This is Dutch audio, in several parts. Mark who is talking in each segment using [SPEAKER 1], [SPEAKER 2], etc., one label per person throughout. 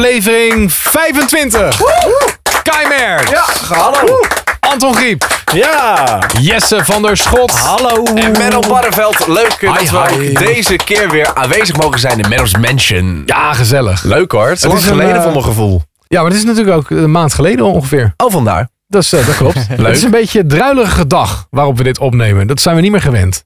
[SPEAKER 1] aflevering 25. Keimer.
[SPEAKER 2] Ja, hallo.
[SPEAKER 1] Anton Griep.
[SPEAKER 2] Ja.
[SPEAKER 1] Jesse van der Schot.
[SPEAKER 2] Hallo. En Menno Barreveld, leuk eh,
[SPEAKER 1] Hi,
[SPEAKER 2] dat we
[SPEAKER 1] hi.
[SPEAKER 2] ook deze keer weer aanwezig mogen zijn in Menno's Mansion.
[SPEAKER 1] Ja, gezellig.
[SPEAKER 2] Leuk hoor, het is lang
[SPEAKER 1] is een,
[SPEAKER 2] geleden
[SPEAKER 1] eh,
[SPEAKER 2] voor mijn gevoel.
[SPEAKER 1] Ja, maar het is natuurlijk ook een maand geleden ongeveer.
[SPEAKER 2] Oh, vandaar.
[SPEAKER 1] Dat, is, eh, dat klopt.
[SPEAKER 2] Leuk.
[SPEAKER 1] Het is een beetje een druilige dag waarop we dit opnemen. Dat zijn we niet meer gewend.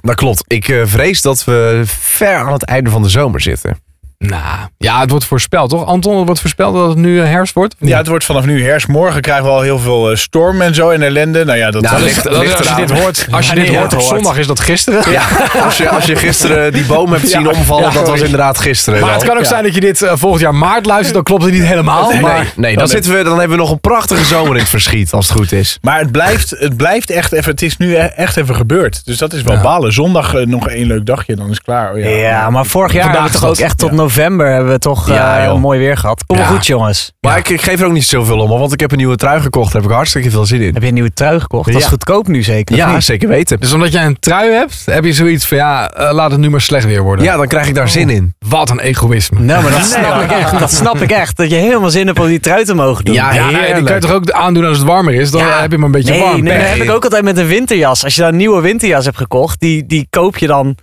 [SPEAKER 2] Dat klopt. Ik eh, vrees dat we ver aan het einde van de zomer zitten.
[SPEAKER 1] Nou, ja, het wordt voorspeld, toch? Anton, het wordt voorspeld dat het nu eh, herfst wordt?
[SPEAKER 3] Ja, het wordt vanaf nu herfst. Morgen krijgen we al heel veel eh, storm en zo en ellende. Nou ja, dat
[SPEAKER 2] Nou,
[SPEAKER 3] dat
[SPEAKER 2] ligt-
[SPEAKER 3] dat
[SPEAKER 2] ligt
[SPEAKER 3] is-
[SPEAKER 1] als je
[SPEAKER 2] eraan.
[SPEAKER 1] dit hoort, als je dit
[SPEAKER 2] ja.
[SPEAKER 1] hoort op
[SPEAKER 2] Hoort.
[SPEAKER 1] zondag is dat gisteren.
[SPEAKER 2] Ja, als je, als je gisteren die boom hebt zien
[SPEAKER 1] Ja,
[SPEAKER 2] omvallen,
[SPEAKER 1] ja,
[SPEAKER 2] dat was
[SPEAKER 1] sorry.
[SPEAKER 2] inderdaad gisteren.
[SPEAKER 1] Maar het
[SPEAKER 2] wel.
[SPEAKER 1] kan ook
[SPEAKER 2] Ja.
[SPEAKER 1] zijn dat je dit eh, volgend jaar maart luistert, dan klopt het niet helemaal.
[SPEAKER 2] Nee,
[SPEAKER 1] maar
[SPEAKER 2] nee, dan, zitten we, dan hebben we nog een prachtige zomer in het verschiet, als het goed is.
[SPEAKER 3] Maar het blijft, het blijft echt even, het is nu e- echt even gebeurd. Dus dat is wel balen. Zondag eh, nog één leuk dagje, dan is het klaar. Oh, ja.
[SPEAKER 4] Ja, maar vorig jaar hebben we toch ook echt tot november hebben we toch
[SPEAKER 2] Ja,
[SPEAKER 4] eh,
[SPEAKER 2] joh.
[SPEAKER 4] mooi weer gehad. Kom
[SPEAKER 1] Ja.
[SPEAKER 4] goed jongens.
[SPEAKER 2] Maar ik, ik geef er ook niet zoveel om, hoor, want ik heb een nieuwe trui gekocht. Daar heb ik hartstikke veel zin in.
[SPEAKER 4] Heb je een nieuwe trui gekocht? Dat is
[SPEAKER 2] Ja.
[SPEAKER 4] goedkoop nu zeker. of
[SPEAKER 2] Ja,
[SPEAKER 4] niet?
[SPEAKER 2] zeker weten.
[SPEAKER 1] Dus omdat jij een trui hebt, heb je zoiets van ja, eh, laat het nu maar slecht weer worden.
[SPEAKER 2] Ja, dan krijg ik daar zin in.
[SPEAKER 1] Wat een egoïsme.
[SPEAKER 4] Nou, maar dat snap ik echt. Dat snap ik echt. Dat je helemaal zin hebt om die trui te mogen doen.
[SPEAKER 2] Ja,
[SPEAKER 1] Ja, nee, die kan je
[SPEAKER 2] heerlijk.
[SPEAKER 1] toch ook aandoen als het warmer is? Dan
[SPEAKER 4] Ja.
[SPEAKER 1] heb je hem een beetje
[SPEAKER 4] nee,
[SPEAKER 1] warm.
[SPEAKER 4] Nee, dat
[SPEAKER 1] Pech.
[SPEAKER 4] heb ik ook altijd met een winterjas. Als je dan een nieuwe winterjas hebt gekocht, die, die koop je dan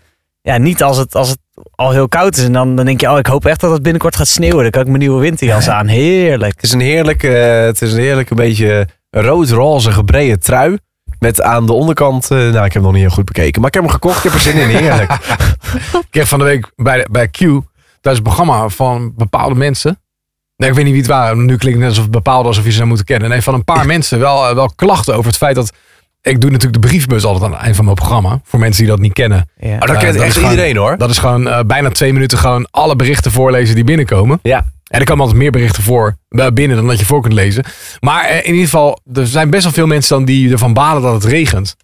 [SPEAKER 4] ja, niet als het, als het al heel koud is. En dan, dan denk je, oh, ik hoop echt dat het binnenkort gaat sneeuwen. Dan kan ik mijn nieuwe winterjas aan. Heerlijk.
[SPEAKER 2] Het is een heerlijke, eh, het is een heerlijke beetje rood-roze gebreide trui. Met aan de onderkant, eh, nou ik heb hem nog niet heel goed bekeken. Maar ik heb hem gekocht, ik heb er zin in, heerlijk.
[SPEAKER 1] Ik kreeg van de week bij, bij Q, dat is een programma van bepaalde mensen. Nee, ik weet niet wie het waren. Nu klinkt het net alsof bepaalde alsof je ze zou moeten kennen. Nee, van een paar mensen wel, eh, wel klachten over het feit dat... Ik doe natuurlijk de briefbus altijd aan het eind van mijn programma. Voor mensen die dat niet kennen.
[SPEAKER 4] Ja.
[SPEAKER 2] Maar dat
[SPEAKER 1] Ja,
[SPEAKER 2] kent
[SPEAKER 1] dat
[SPEAKER 2] echt
[SPEAKER 1] is gewoon-
[SPEAKER 2] iedereen hoor.
[SPEAKER 1] Dat is gewoon eh, bijna twee minuten gewoon alle berichten voorlezen die binnenkomen.
[SPEAKER 2] Ja.
[SPEAKER 1] En er komen altijd meer berichten voor eh, binnen dan dat je voor kunt lezen. Maar eh, in ieder geval, er zijn best wel veel mensen dan die ervan balen dat het regent.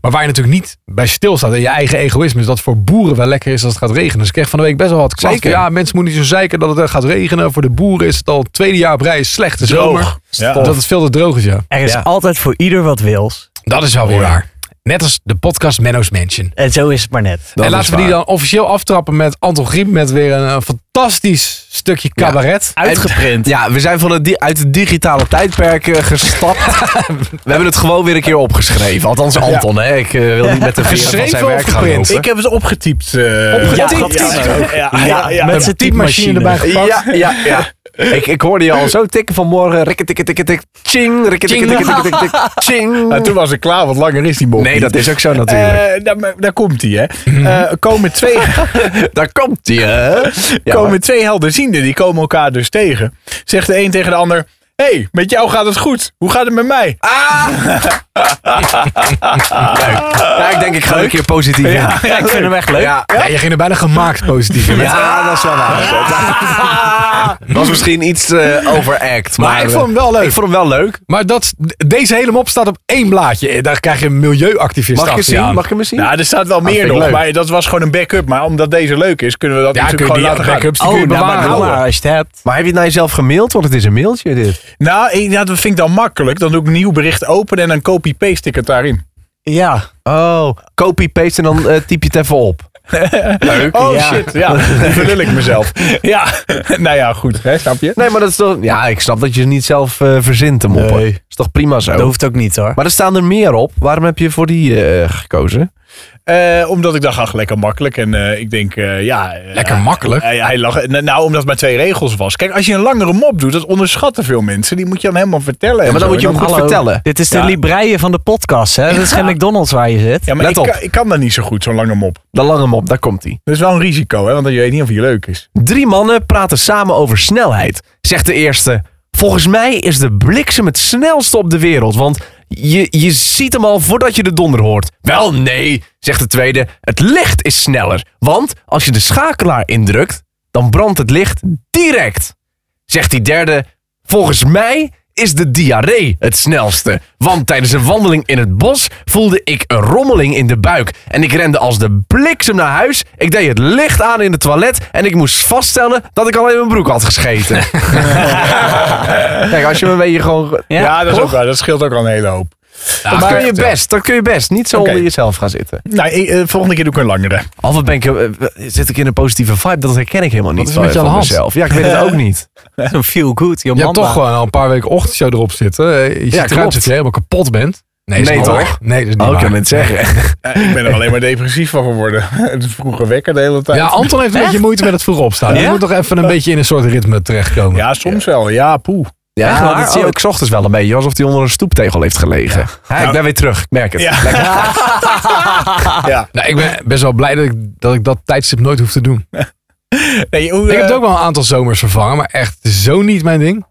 [SPEAKER 1] Maar waar je natuurlijk niet bij stilstaat en je eigen egoïsme is dat het voor boeren wel lekker is als het gaat regenen. Dus ik kreeg van de week best wel wat klachten.
[SPEAKER 2] Zeker.
[SPEAKER 1] Ja, mensen moeten niet zo zeiken dat het eh, gaat regenen. Voor de boeren is het al het tweede jaar op rij slechte zomer.
[SPEAKER 3] Droog. Ja.
[SPEAKER 1] Dat het veel te droog is, ja.
[SPEAKER 4] Er is
[SPEAKER 2] Ja.
[SPEAKER 4] altijd voor ieder wat wils.
[SPEAKER 1] Dat is wel weer
[SPEAKER 3] Ja.
[SPEAKER 1] waar. Net als de podcast Menno's Mansion.
[SPEAKER 4] En zo is het maar net.
[SPEAKER 2] Dat
[SPEAKER 1] en
[SPEAKER 2] is
[SPEAKER 1] laten we die
[SPEAKER 2] waar.
[SPEAKER 1] dan officieel aftrappen met Anton Griep met weer een, eh, fantastisch stukje cabaret.
[SPEAKER 4] Uitgeprint.
[SPEAKER 2] Ja, we zijn van het di- uit het digitale tijdperk eh, gestapt. we hebben het gewoon weer een keer opgeschreven. Althans Anton, hè. Ik eh, wil niet met de veren van zijn
[SPEAKER 1] Geschreven
[SPEAKER 2] werk
[SPEAKER 1] of
[SPEAKER 2] gaan
[SPEAKER 1] geprint?
[SPEAKER 2] lopen.
[SPEAKER 3] Ik heb het opgetypt. eh,
[SPEAKER 4] Ja,
[SPEAKER 2] Opgetypt?
[SPEAKER 4] dat is
[SPEAKER 3] ja,
[SPEAKER 4] het ook.
[SPEAKER 3] ja,
[SPEAKER 4] Ja,
[SPEAKER 3] ja, ja.
[SPEAKER 4] met zijn typemachine Oh, erbij.
[SPEAKER 1] gepakt.
[SPEAKER 2] Ja, ja, ja. Ik, ik hoorde je al zo tikken vanmorgen. Rikke, tikke, tikke, tik. Ching. Rikke, tikke, tikke, tikke, tik, tik. Ching.
[SPEAKER 3] Nou, toen was ik klaar, want langer is die bocht
[SPEAKER 2] Nee,
[SPEAKER 3] niet.
[SPEAKER 2] dat is ook zo
[SPEAKER 3] Eh,
[SPEAKER 2] natuurlijk. Mhm.
[SPEAKER 3] daar, maar daar komt hij, hè. Eh, komen twee,
[SPEAKER 2] Daar komt hij, hè? Ja,
[SPEAKER 3] komen
[SPEAKER 2] maar-
[SPEAKER 3] twee helderzienden, die komen elkaar dus tegen. Zegt de een tegen de ander... Hé, hey, met jou gaat het goed. Hoe gaat het met mij?
[SPEAKER 2] ja, ik denk ik ga er een keer positief in. Ja,
[SPEAKER 4] ik vind hem echt leuk.
[SPEAKER 2] ja.
[SPEAKER 1] Ja, je ging er bijna gemaakt positief in.
[SPEAKER 2] dat is wel waar. Dat was misschien iets eh, overact. Maar,
[SPEAKER 1] ik vond hem wel leuk.
[SPEAKER 2] Ik vond hem wel leuk.
[SPEAKER 1] eh, Maar dat, deze hele mop staat op één blaadje. Eh, Daar krijg je een milieuactivist
[SPEAKER 2] Mag ik hem
[SPEAKER 1] achter je
[SPEAKER 2] zien?
[SPEAKER 1] aan.
[SPEAKER 2] Mag ik hem eens zien?
[SPEAKER 3] Nou, er staat wel meer
[SPEAKER 2] Ah, vind ik
[SPEAKER 3] nog,
[SPEAKER 2] leuk.
[SPEAKER 3] maar dat was gewoon een backup. Maar omdat deze leuk is, kunnen we dat
[SPEAKER 1] ja, kun
[SPEAKER 3] natuurlijk
[SPEAKER 1] je die
[SPEAKER 3] gewoon laten gaan.
[SPEAKER 1] backups die kun je
[SPEAKER 4] nou,
[SPEAKER 1] bewaren.
[SPEAKER 4] maar doe maar
[SPEAKER 1] houden.
[SPEAKER 4] als je het hebt.
[SPEAKER 2] Maar heb je het naar jezelf gemaild? Want het is een mailtje dit.
[SPEAKER 3] Nou, ik- ja, dat vind ik dan makkelijk. Dan doe ik een nieuw bericht open en dan copy-paste ik het daarin.
[SPEAKER 4] Ja.
[SPEAKER 2] Oh, copy-paste en dan eh, typ je het even op. Leuk.
[SPEAKER 3] Oh
[SPEAKER 4] Ja.
[SPEAKER 3] shit, ja, dan verlul ik mezelf. Ja, nou ja, goed, hè, snap je?
[SPEAKER 2] Nee, maar dat is toch... Ja, ik snap dat je het niet zelf eh, verzint te moppen.
[SPEAKER 4] Nee.
[SPEAKER 2] is toch prima zo?
[SPEAKER 4] Dat hoeft ook niet hoor.
[SPEAKER 2] Maar er staan er meer op. Waarom heb je voor die eh, gekozen?
[SPEAKER 3] Eh, omdat ik dacht, ach, lekker makkelijk. En eh, ik denk, eh, ja... eh,
[SPEAKER 1] Lekker
[SPEAKER 3] hij-
[SPEAKER 1] makkelijk.
[SPEAKER 3] hij- hij lag, nou, nou, omdat het maar twee regels was. Kijk, als je een langere mop doet, dat onderschatten veel mensen. Die moet je dan helemaal vertellen.
[SPEAKER 2] Ja,
[SPEAKER 3] en
[SPEAKER 2] maar dan
[SPEAKER 3] zo.
[SPEAKER 2] moet je hem
[SPEAKER 3] En
[SPEAKER 2] goed vertellen.
[SPEAKER 4] Dit is de
[SPEAKER 3] Ja.
[SPEAKER 4] libreien van de podcast, hè? Dat is geen McDonald's waar je zit.
[SPEAKER 3] Ja, maar
[SPEAKER 2] Let
[SPEAKER 3] ik,
[SPEAKER 2] op.
[SPEAKER 3] Kan, ik kan dat niet zo goed, zo'n lange mop.
[SPEAKER 2] De lange mop, daar komt hij.
[SPEAKER 3] Dat is wel een risico, hè, want je weet niet of hij leuk is.
[SPEAKER 2] Drie mannen praten samen over snelheid, zegt de eerste. Volgens mij is de bliksem het snelste op de wereld, want je, je ziet hem al voordat je de donder hoort. Wel nee, zegt de tweede. Het licht is sneller, want als je de schakelaar indrukt, dan brandt het licht direct. Zegt die derde. Volgens mij is de diarree het snelste, want tijdens een wandeling in het bos voelde ik een rommeling in de buik en ik rende als de bliksem naar huis. Ik deed het licht aan in het toilet en ik moest vaststellen dat ik al in mijn broek had gescheten. Kijk, als je me een beetje gewoon
[SPEAKER 3] Ja, dat, is ook, wel- dat scheelt ook al een hele hoop.
[SPEAKER 2] Dan
[SPEAKER 1] dat
[SPEAKER 2] kun je
[SPEAKER 1] klopt, ja.
[SPEAKER 2] best, dan kun je best. Niet zo
[SPEAKER 3] Oké.
[SPEAKER 2] onder jezelf gaan zitten.
[SPEAKER 3] Nou, ik- eh, volgende keer doe ik een langere.
[SPEAKER 2] Alweer ben ik, eh, zit ik in een positieve vibe, dat herken ik helemaal niet
[SPEAKER 1] is er
[SPEAKER 2] van,
[SPEAKER 1] met je aan
[SPEAKER 2] van
[SPEAKER 1] de hand?
[SPEAKER 2] mezelf. Ja, ik weet het ook niet.
[SPEAKER 4] Zo'n feel good,
[SPEAKER 1] Je hebt
[SPEAKER 4] Jomanda.
[SPEAKER 1] toch gewoon al een paar weken ochtendshow erop zitten. Eh, Je ziet eruit
[SPEAKER 2] klopt.
[SPEAKER 1] alsof je helemaal kapot bent. Nee, is
[SPEAKER 2] Nee,
[SPEAKER 1] niet
[SPEAKER 2] toch?
[SPEAKER 1] waar. Nee, dat is niet
[SPEAKER 2] Ook
[SPEAKER 1] waar.
[SPEAKER 2] kan het zeggen.
[SPEAKER 3] Ja, Eh, ik ben er alleen maar depressief van geworden. Het is vroeger wekker de hele tijd.
[SPEAKER 1] Ja,
[SPEAKER 3] Ja,
[SPEAKER 1] Anton heeft een beetje moeite met het vroeg opstaan. Je
[SPEAKER 4] Ja?
[SPEAKER 1] moet toch even een beetje in een soort ritme terechtkomen.
[SPEAKER 3] soms wel. Ja, poe.
[SPEAKER 2] Ja,
[SPEAKER 4] Echt waar?
[SPEAKER 2] dat zie je
[SPEAKER 4] Oh,
[SPEAKER 2] ook 's ochtends wel een beetje. Alsof hij onder een stoeptegel heeft gelegen. Hè, ik
[SPEAKER 3] Nou.
[SPEAKER 2] ben weer terug, ik merk het.
[SPEAKER 3] Ja.
[SPEAKER 2] Lekker.
[SPEAKER 3] Ja.
[SPEAKER 1] Nou, ik ben best wel blij dat ik dat, ik dat tijdstip nooit hoef te doen.
[SPEAKER 3] Nee, hoe,
[SPEAKER 1] Ik heb
[SPEAKER 3] eh,
[SPEAKER 1] het ook wel een aantal zomers vervangen, maar echt zo niet mijn ding.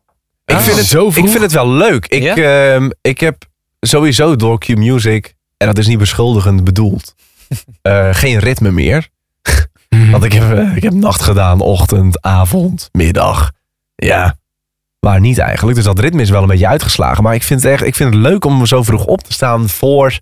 [SPEAKER 2] Ik, vind het,
[SPEAKER 1] zo vroeg.
[SPEAKER 2] ik vind het wel leuk. Ik,
[SPEAKER 4] Ja?
[SPEAKER 2] ehm, ik heb sowieso door Q-Music, en dat is niet beschuldigend bedoeld, eh, geen ritme meer. Want ik heb, eh, ik heb nacht gedaan, ochtend, avond, middag. Ja, maar niet eigenlijk. Dus dat ritme is wel een beetje uitgeslagen. Maar ik vind het, echt, ik vind het leuk om zo vroeg op te staan voor,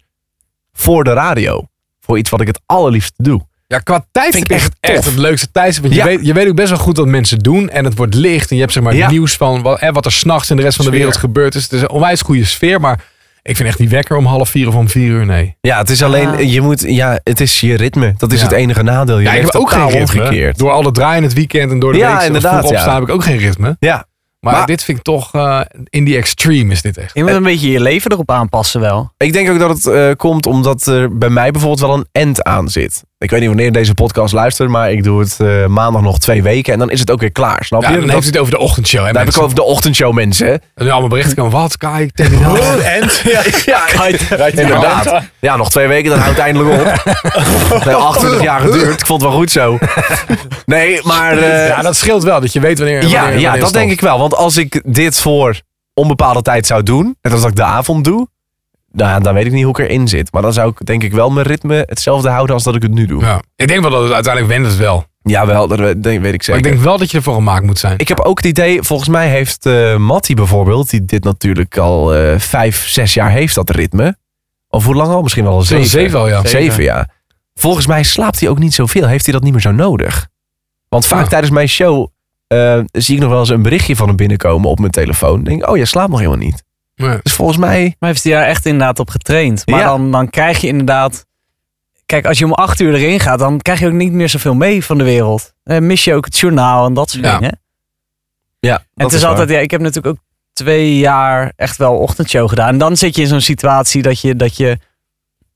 [SPEAKER 2] voor de radio. Voor iets wat ik het allerliefst doe.
[SPEAKER 1] Ja, qua tijdstip
[SPEAKER 2] Vind ik
[SPEAKER 1] is
[SPEAKER 2] echt
[SPEAKER 1] het echt
[SPEAKER 2] tof.
[SPEAKER 1] het leukste tijdstip. Want
[SPEAKER 2] Ja.
[SPEAKER 1] je, weet, je weet ook best wel goed wat mensen doen. En het wordt licht. En je hebt zeg maar
[SPEAKER 2] Ja.
[SPEAKER 1] nieuws van wat, hè, wat er s'nachts in de rest van de
[SPEAKER 3] Sfeer.
[SPEAKER 1] wereld gebeurt. Dus het is een onwijs goede sfeer. Maar ik vind echt die wekker om half vier of om vier uur, nee.
[SPEAKER 2] Ja, het is alleen,
[SPEAKER 4] Ah.
[SPEAKER 2] je moet, ja, het is je ritme. Dat is
[SPEAKER 1] Ja.
[SPEAKER 2] het enige nadeel. Je
[SPEAKER 1] Ja, ik
[SPEAKER 2] leeft
[SPEAKER 1] heb ook geen
[SPEAKER 2] totaal
[SPEAKER 1] ritme.
[SPEAKER 2] omgekeerd.
[SPEAKER 1] Door al het draaien het weekend en door de
[SPEAKER 2] Ja,
[SPEAKER 1] week zelfs vroeg
[SPEAKER 2] inderdaad,
[SPEAKER 1] opstaan
[SPEAKER 2] ja.
[SPEAKER 1] heb ik ook geen ritme.
[SPEAKER 2] Ja.
[SPEAKER 1] Maar,
[SPEAKER 2] Maar-
[SPEAKER 1] dit vind ik toch, eh, in die extreme is dit echt.
[SPEAKER 4] Je moet een beetje je leven erop aanpassen wel.
[SPEAKER 2] Ik denk ook dat het eh, komt omdat er bij mij bijvoorbeeld wel een end aan zit. Ik weet niet wanneer je deze podcast luistert, maar ik doe het eh, maandag nog twee weken. En dan is het ook weer klaar, snap
[SPEAKER 1] Ja,
[SPEAKER 2] je?
[SPEAKER 1] dan heeft
[SPEAKER 2] Dat-
[SPEAKER 1] hij het over de ochtendshow. En
[SPEAKER 2] daar heb ik over de ochtendshow, mensen.
[SPEAKER 1] allemaal berichten komen. Wat, Kai? Tegen
[SPEAKER 3] Oh, en? Ja,
[SPEAKER 2] Ja,
[SPEAKER 3] inderdaad.
[SPEAKER 2] inderdaad. Ja, nog twee weken, dan houdt het eindelijk op. Het heeft 28 jaar geduurd. Ik vond het wel goed zo. Nee, maar... eh,
[SPEAKER 1] Ja, dat scheelt wel. Dat je weet wanneer.
[SPEAKER 2] Ja,
[SPEAKER 1] wanneer-
[SPEAKER 2] ja
[SPEAKER 1] wanneer
[SPEAKER 2] dat
[SPEAKER 1] het
[SPEAKER 2] denk ik wel. Want als ik dit voor onbepaalde tijd zou doen, net als dat ik de avond doe, nou, dan weet ik niet hoe ik erin zit. Maar dan zou ik denk ik wel mijn ritme hetzelfde houden als dat ik het nu doe.
[SPEAKER 1] Ja. Ik denk wel dat het uiteindelijk wendt het wel. Maar
[SPEAKER 2] Jawel, dat we- denk- weet ik zeker.
[SPEAKER 1] ik
[SPEAKER 2] Ik,
[SPEAKER 1] denk wel dat je ervoor gemaakt moet zijn.
[SPEAKER 2] heb ook het idee, volgens mij heeft eh Matty bijvoorbeeld, die dit natuurlijk al eh, vijf, zes jaar heeft, dat ritme. Of hoe lang al? Misschien wel al
[SPEAKER 1] Zo'n
[SPEAKER 2] zeven.
[SPEAKER 1] zeven al, ja.
[SPEAKER 2] Zeven, ja. Volgens mij slaapt hij ook niet zoveel. Heeft hij dat niet meer zo nodig? Want vaak
[SPEAKER 1] Ja.
[SPEAKER 2] tijdens mijn show eh, zie ik nog wel eens een berichtje van hem binnenkomen op mijn telefoon. Denk ik, oh, jij slaapt nog helemaal niet.
[SPEAKER 1] Ja.
[SPEAKER 2] Dus volgens mij...
[SPEAKER 4] Maar heeft hij daar echt inderdaad op getraind. Maar
[SPEAKER 2] Ja.
[SPEAKER 4] dan, dan krijg je inderdaad... Kijk, als je om acht uur erin gaat, dan krijg je ook niet meer zoveel mee van de wereld. Dan mis je ook het journaal en dat soort
[SPEAKER 1] Ja.
[SPEAKER 4] dingen.
[SPEAKER 2] Ja,
[SPEAKER 4] En het is, altijd, ja, ik heb natuurlijk ook twee jaar echt wel ochtendshow gedaan. En dan zit je in zo'n situatie dat je, dat je,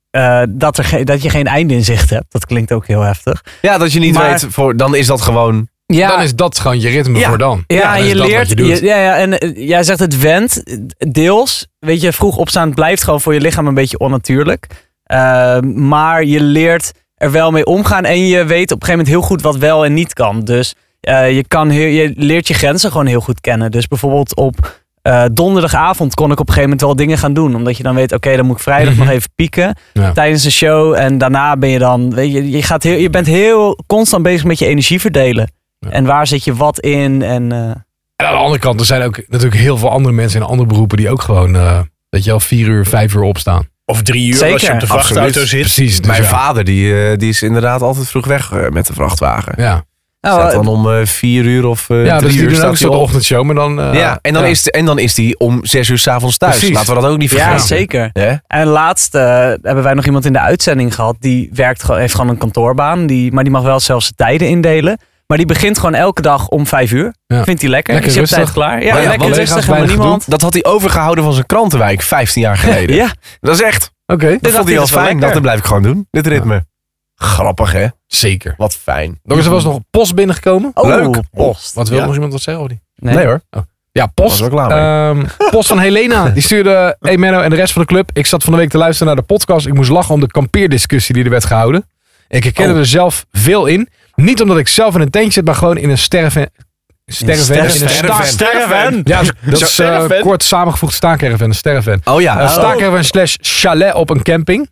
[SPEAKER 4] eh, dat, er geen dat je geen einde in zicht hebt. Dat klinkt ook heel heftig.
[SPEAKER 2] Ja, dat je niet
[SPEAKER 4] Maar-
[SPEAKER 2] weet, voor, dan is dat gewoon...
[SPEAKER 4] Ja,
[SPEAKER 1] Dan is dat gewoon je ritme
[SPEAKER 2] Ja.
[SPEAKER 1] voor dan.
[SPEAKER 4] ja,
[SPEAKER 1] dan
[SPEAKER 4] en
[SPEAKER 1] is
[SPEAKER 4] je
[SPEAKER 1] dat wat
[SPEAKER 4] leert.
[SPEAKER 1] je doet.
[SPEAKER 4] je- ja, ja, en eh, jij zegt het went. Deels, weet je, vroeg opstaan blijft gewoon voor je lichaam een beetje onnatuurlijk. Eh, maar je leert er wel mee omgaan en je weet op een gegeven moment heel goed wat wel en niet kan. Dus eh, je, kan heel, je leert je grenzen gewoon heel goed kennen. Dus bijvoorbeeld op eh, donderdagavond kon ik op een gegeven moment wel dingen gaan doen. Omdat je dan weet, oké, dan moet ik vrijdag
[SPEAKER 1] Mhm.
[SPEAKER 4] nog even pieken
[SPEAKER 1] Ja.
[SPEAKER 4] tijdens de show. En daarna ben je dan, weet je, je, gaat heel, je bent heel constant bezig met je energie verdelen.
[SPEAKER 1] Ja.
[SPEAKER 4] En waar zit je wat in en... eh,
[SPEAKER 1] En aan de andere kant, er zijn ook natuurlijk heel veel andere mensen in andere beroepen die ook gewoon, eh weet je wel, vier uur, vijf uur opstaan.
[SPEAKER 3] Of drie uur als je
[SPEAKER 4] Zeker,
[SPEAKER 3] op de vrachtauto
[SPEAKER 2] absoluut.
[SPEAKER 3] zit.
[SPEAKER 1] Precies. Dus
[SPEAKER 2] mijn
[SPEAKER 1] ja.
[SPEAKER 2] vader, die, eh, die is inderdaad altijd vroeg weg eh, met de vrachtwagen.
[SPEAKER 1] Ja,
[SPEAKER 4] nou,
[SPEAKER 2] staat
[SPEAKER 4] eh,
[SPEAKER 2] dan om eh, vier uur of
[SPEAKER 1] ja
[SPEAKER 2] eh drie
[SPEAKER 1] dus die
[SPEAKER 2] uur
[SPEAKER 1] doen
[SPEAKER 2] staat
[SPEAKER 1] ook
[SPEAKER 2] hij
[SPEAKER 1] zo'n
[SPEAKER 2] op.
[SPEAKER 1] ochtendshow, maar dan... eh,
[SPEAKER 2] Ja, en dan,
[SPEAKER 1] ja.
[SPEAKER 2] Is, en dan is die om zes uur s'avonds thuis.
[SPEAKER 1] Precies.
[SPEAKER 2] Laten we dat ook niet
[SPEAKER 4] ja,
[SPEAKER 2] vergeten.
[SPEAKER 4] zeker.
[SPEAKER 2] Hè?
[SPEAKER 4] En laatst eh, hebben wij nog iemand in de uitzending gehad. Die werkt, gewoon- heeft gewoon een kantoorbaan. Die, maar die mag wel zelfs de tijden indelen. Maar die begint gewoon elke dag om vijf uur.
[SPEAKER 1] Ja.
[SPEAKER 4] Vindt hij lekker.
[SPEAKER 1] Lekker
[SPEAKER 4] is je op tijd
[SPEAKER 1] rustig.
[SPEAKER 4] klaar. Ja,
[SPEAKER 2] Maar ja,
[SPEAKER 4] lekker
[SPEAKER 1] collega's,
[SPEAKER 4] rustig. Helemaal
[SPEAKER 1] weinig
[SPEAKER 4] niemand.
[SPEAKER 2] Dat had hij overgehouden van zijn krantenwijk 15 jaar geleden.
[SPEAKER 4] Ja,
[SPEAKER 2] Dat is echt.
[SPEAKER 1] Oké,
[SPEAKER 2] Dat vond
[SPEAKER 4] dacht
[SPEAKER 2] hij
[SPEAKER 4] ik,
[SPEAKER 2] al
[SPEAKER 4] dat is wel
[SPEAKER 2] fijn.
[SPEAKER 4] lekker.
[SPEAKER 2] Dat dan blijf ik gewoon doen. Dit ritme. Grappig, hè?
[SPEAKER 1] zeker.
[SPEAKER 2] Wat fijn.
[SPEAKER 1] Er is er was nog post binnengekomen.
[SPEAKER 4] oh,
[SPEAKER 2] Leuk.
[SPEAKER 4] post.
[SPEAKER 1] Wat wil
[SPEAKER 3] Ja.
[SPEAKER 1] nog iemand wat zeggen? Of niet?
[SPEAKER 4] Nee.
[SPEAKER 2] hoor. Eh,
[SPEAKER 1] Ja,
[SPEAKER 2] Was
[SPEAKER 1] post.
[SPEAKER 2] er ook klaar
[SPEAKER 1] Ehm, post van Helena. Die stuurde, hey Menno en de rest van de club. Ik zat van de week te luisteren naar de podcast. Ik moest lachen om de kampeerdiscussie die er werd gehouden. Ik herkende
[SPEAKER 2] Oh.
[SPEAKER 1] er zelf veel in. Niet omdat ik zelf in een tentje zit, maar gewoon in een sterven... Sterven, in een
[SPEAKER 4] sterven-
[SPEAKER 1] staak-
[SPEAKER 3] Sterven.
[SPEAKER 1] Ja, dat is eh,
[SPEAKER 3] Sterven.
[SPEAKER 1] kort samengevoegd staakerven, een sterven.
[SPEAKER 2] Oh ja.
[SPEAKER 1] Uh, Staakerven slash chalet op een camping.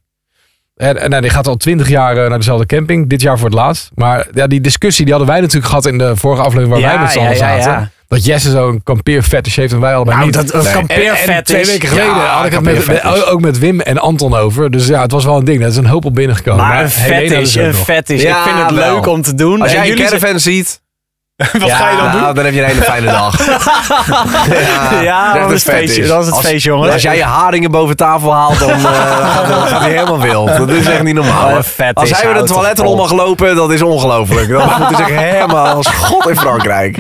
[SPEAKER 1] En, en nou, die gaat al twintig jaar eh, naar dezelfde camping. Dit jaar voor het laatst. Maar ja, die discussie die hadden wij natuurlijk gehad in de vorige aflevering waar
[SPEAKER 4] Ja,
[SPEAKER 1] wij met z'n allen
[SPEAKER 4] ja, ja, ja.
[SPEAKER 1] zaten. Dat Jesse zo'n kampeerfetish heeft en wij allebei
[SPEAKER 4] Nou,
[SPEAKER 1] niet.
[SPEAKER 4] dat dat
[SPEAKER 2] Nee.
[SPEAKER 4] kampeervet
[SPEAKER 1] En, en twee
[SPEAKER 4] is.
[SPEAKER 1] weken geleden
[SPEAKER 2] Ja,
[SPEAKER 1] had ik het met,
[SPEAKER 2] kampeerfetish.
[SPEAKER 1] met- ook met Wim en Anton over. Dus ja, het was wel een ding. Er is een hoop op binnengekomen.
[SPEAKER 4] Maar een
[SPEAKER 1] Helena
[SPEAKER 4] vet is,
[SPEAKER 1] dus ook
[SPEAKER 4] een
[SPEAKER 1] nog.
[SPEAKER 4] vet is.
[SPEAKER 2] Ja,
[SPEAKER 4] ik vind het
[SPEAKER 2] wel.
[SPEAKER 4] leuk om te doen.
[SPEAKER 2] Als
[SPEAKER 4] En
[SPEAKER 2] jij een
[SPEAKER 4] jullie
[SPEAKER 2] caravan ziet,
[SPEAKER 3] Wat ga je dan doen?
[SPEAKER 2] nou, dan heb je een hele fijne dag.
[SPEAKER 4] Ja,
[SPEAKER 2] zeg
[SPEAKER 4] dat
[SPEAKER 2] het
[SPEAKER 4] is het
[SPEAKER 2] vet
[SPEAKER 4] feestje.
[SPEAKER 2] is.
[SPEAKER 4] Dat is het
[SPEAKER 2] Als-
[SPEAKER 4] feest, jongens.
[SPEAKER 2] Als jij je haringen boven tafel haalt, dan eh, dan gaat hij helemaal wild. Dat is echt niet normaal.
[SPEAKER 4] Wat
[SPEAKER 2] hoor.
[SPEAKER 4] vet
[SPEAKER 2] als
[SPEAKER 4] is,
[SPEAKER 2] hij weer
[SPEAKER 4] hou
[SPEAKER 2] de
[SPEAKER 4] toch
[SPEAKER 2] toiletrol
[SPEAKER 4] op.
[SPEAKER 2] mag lopen, dat is ongelooflijk. Dan voelt hij zich helemaal als god in Frankrijk.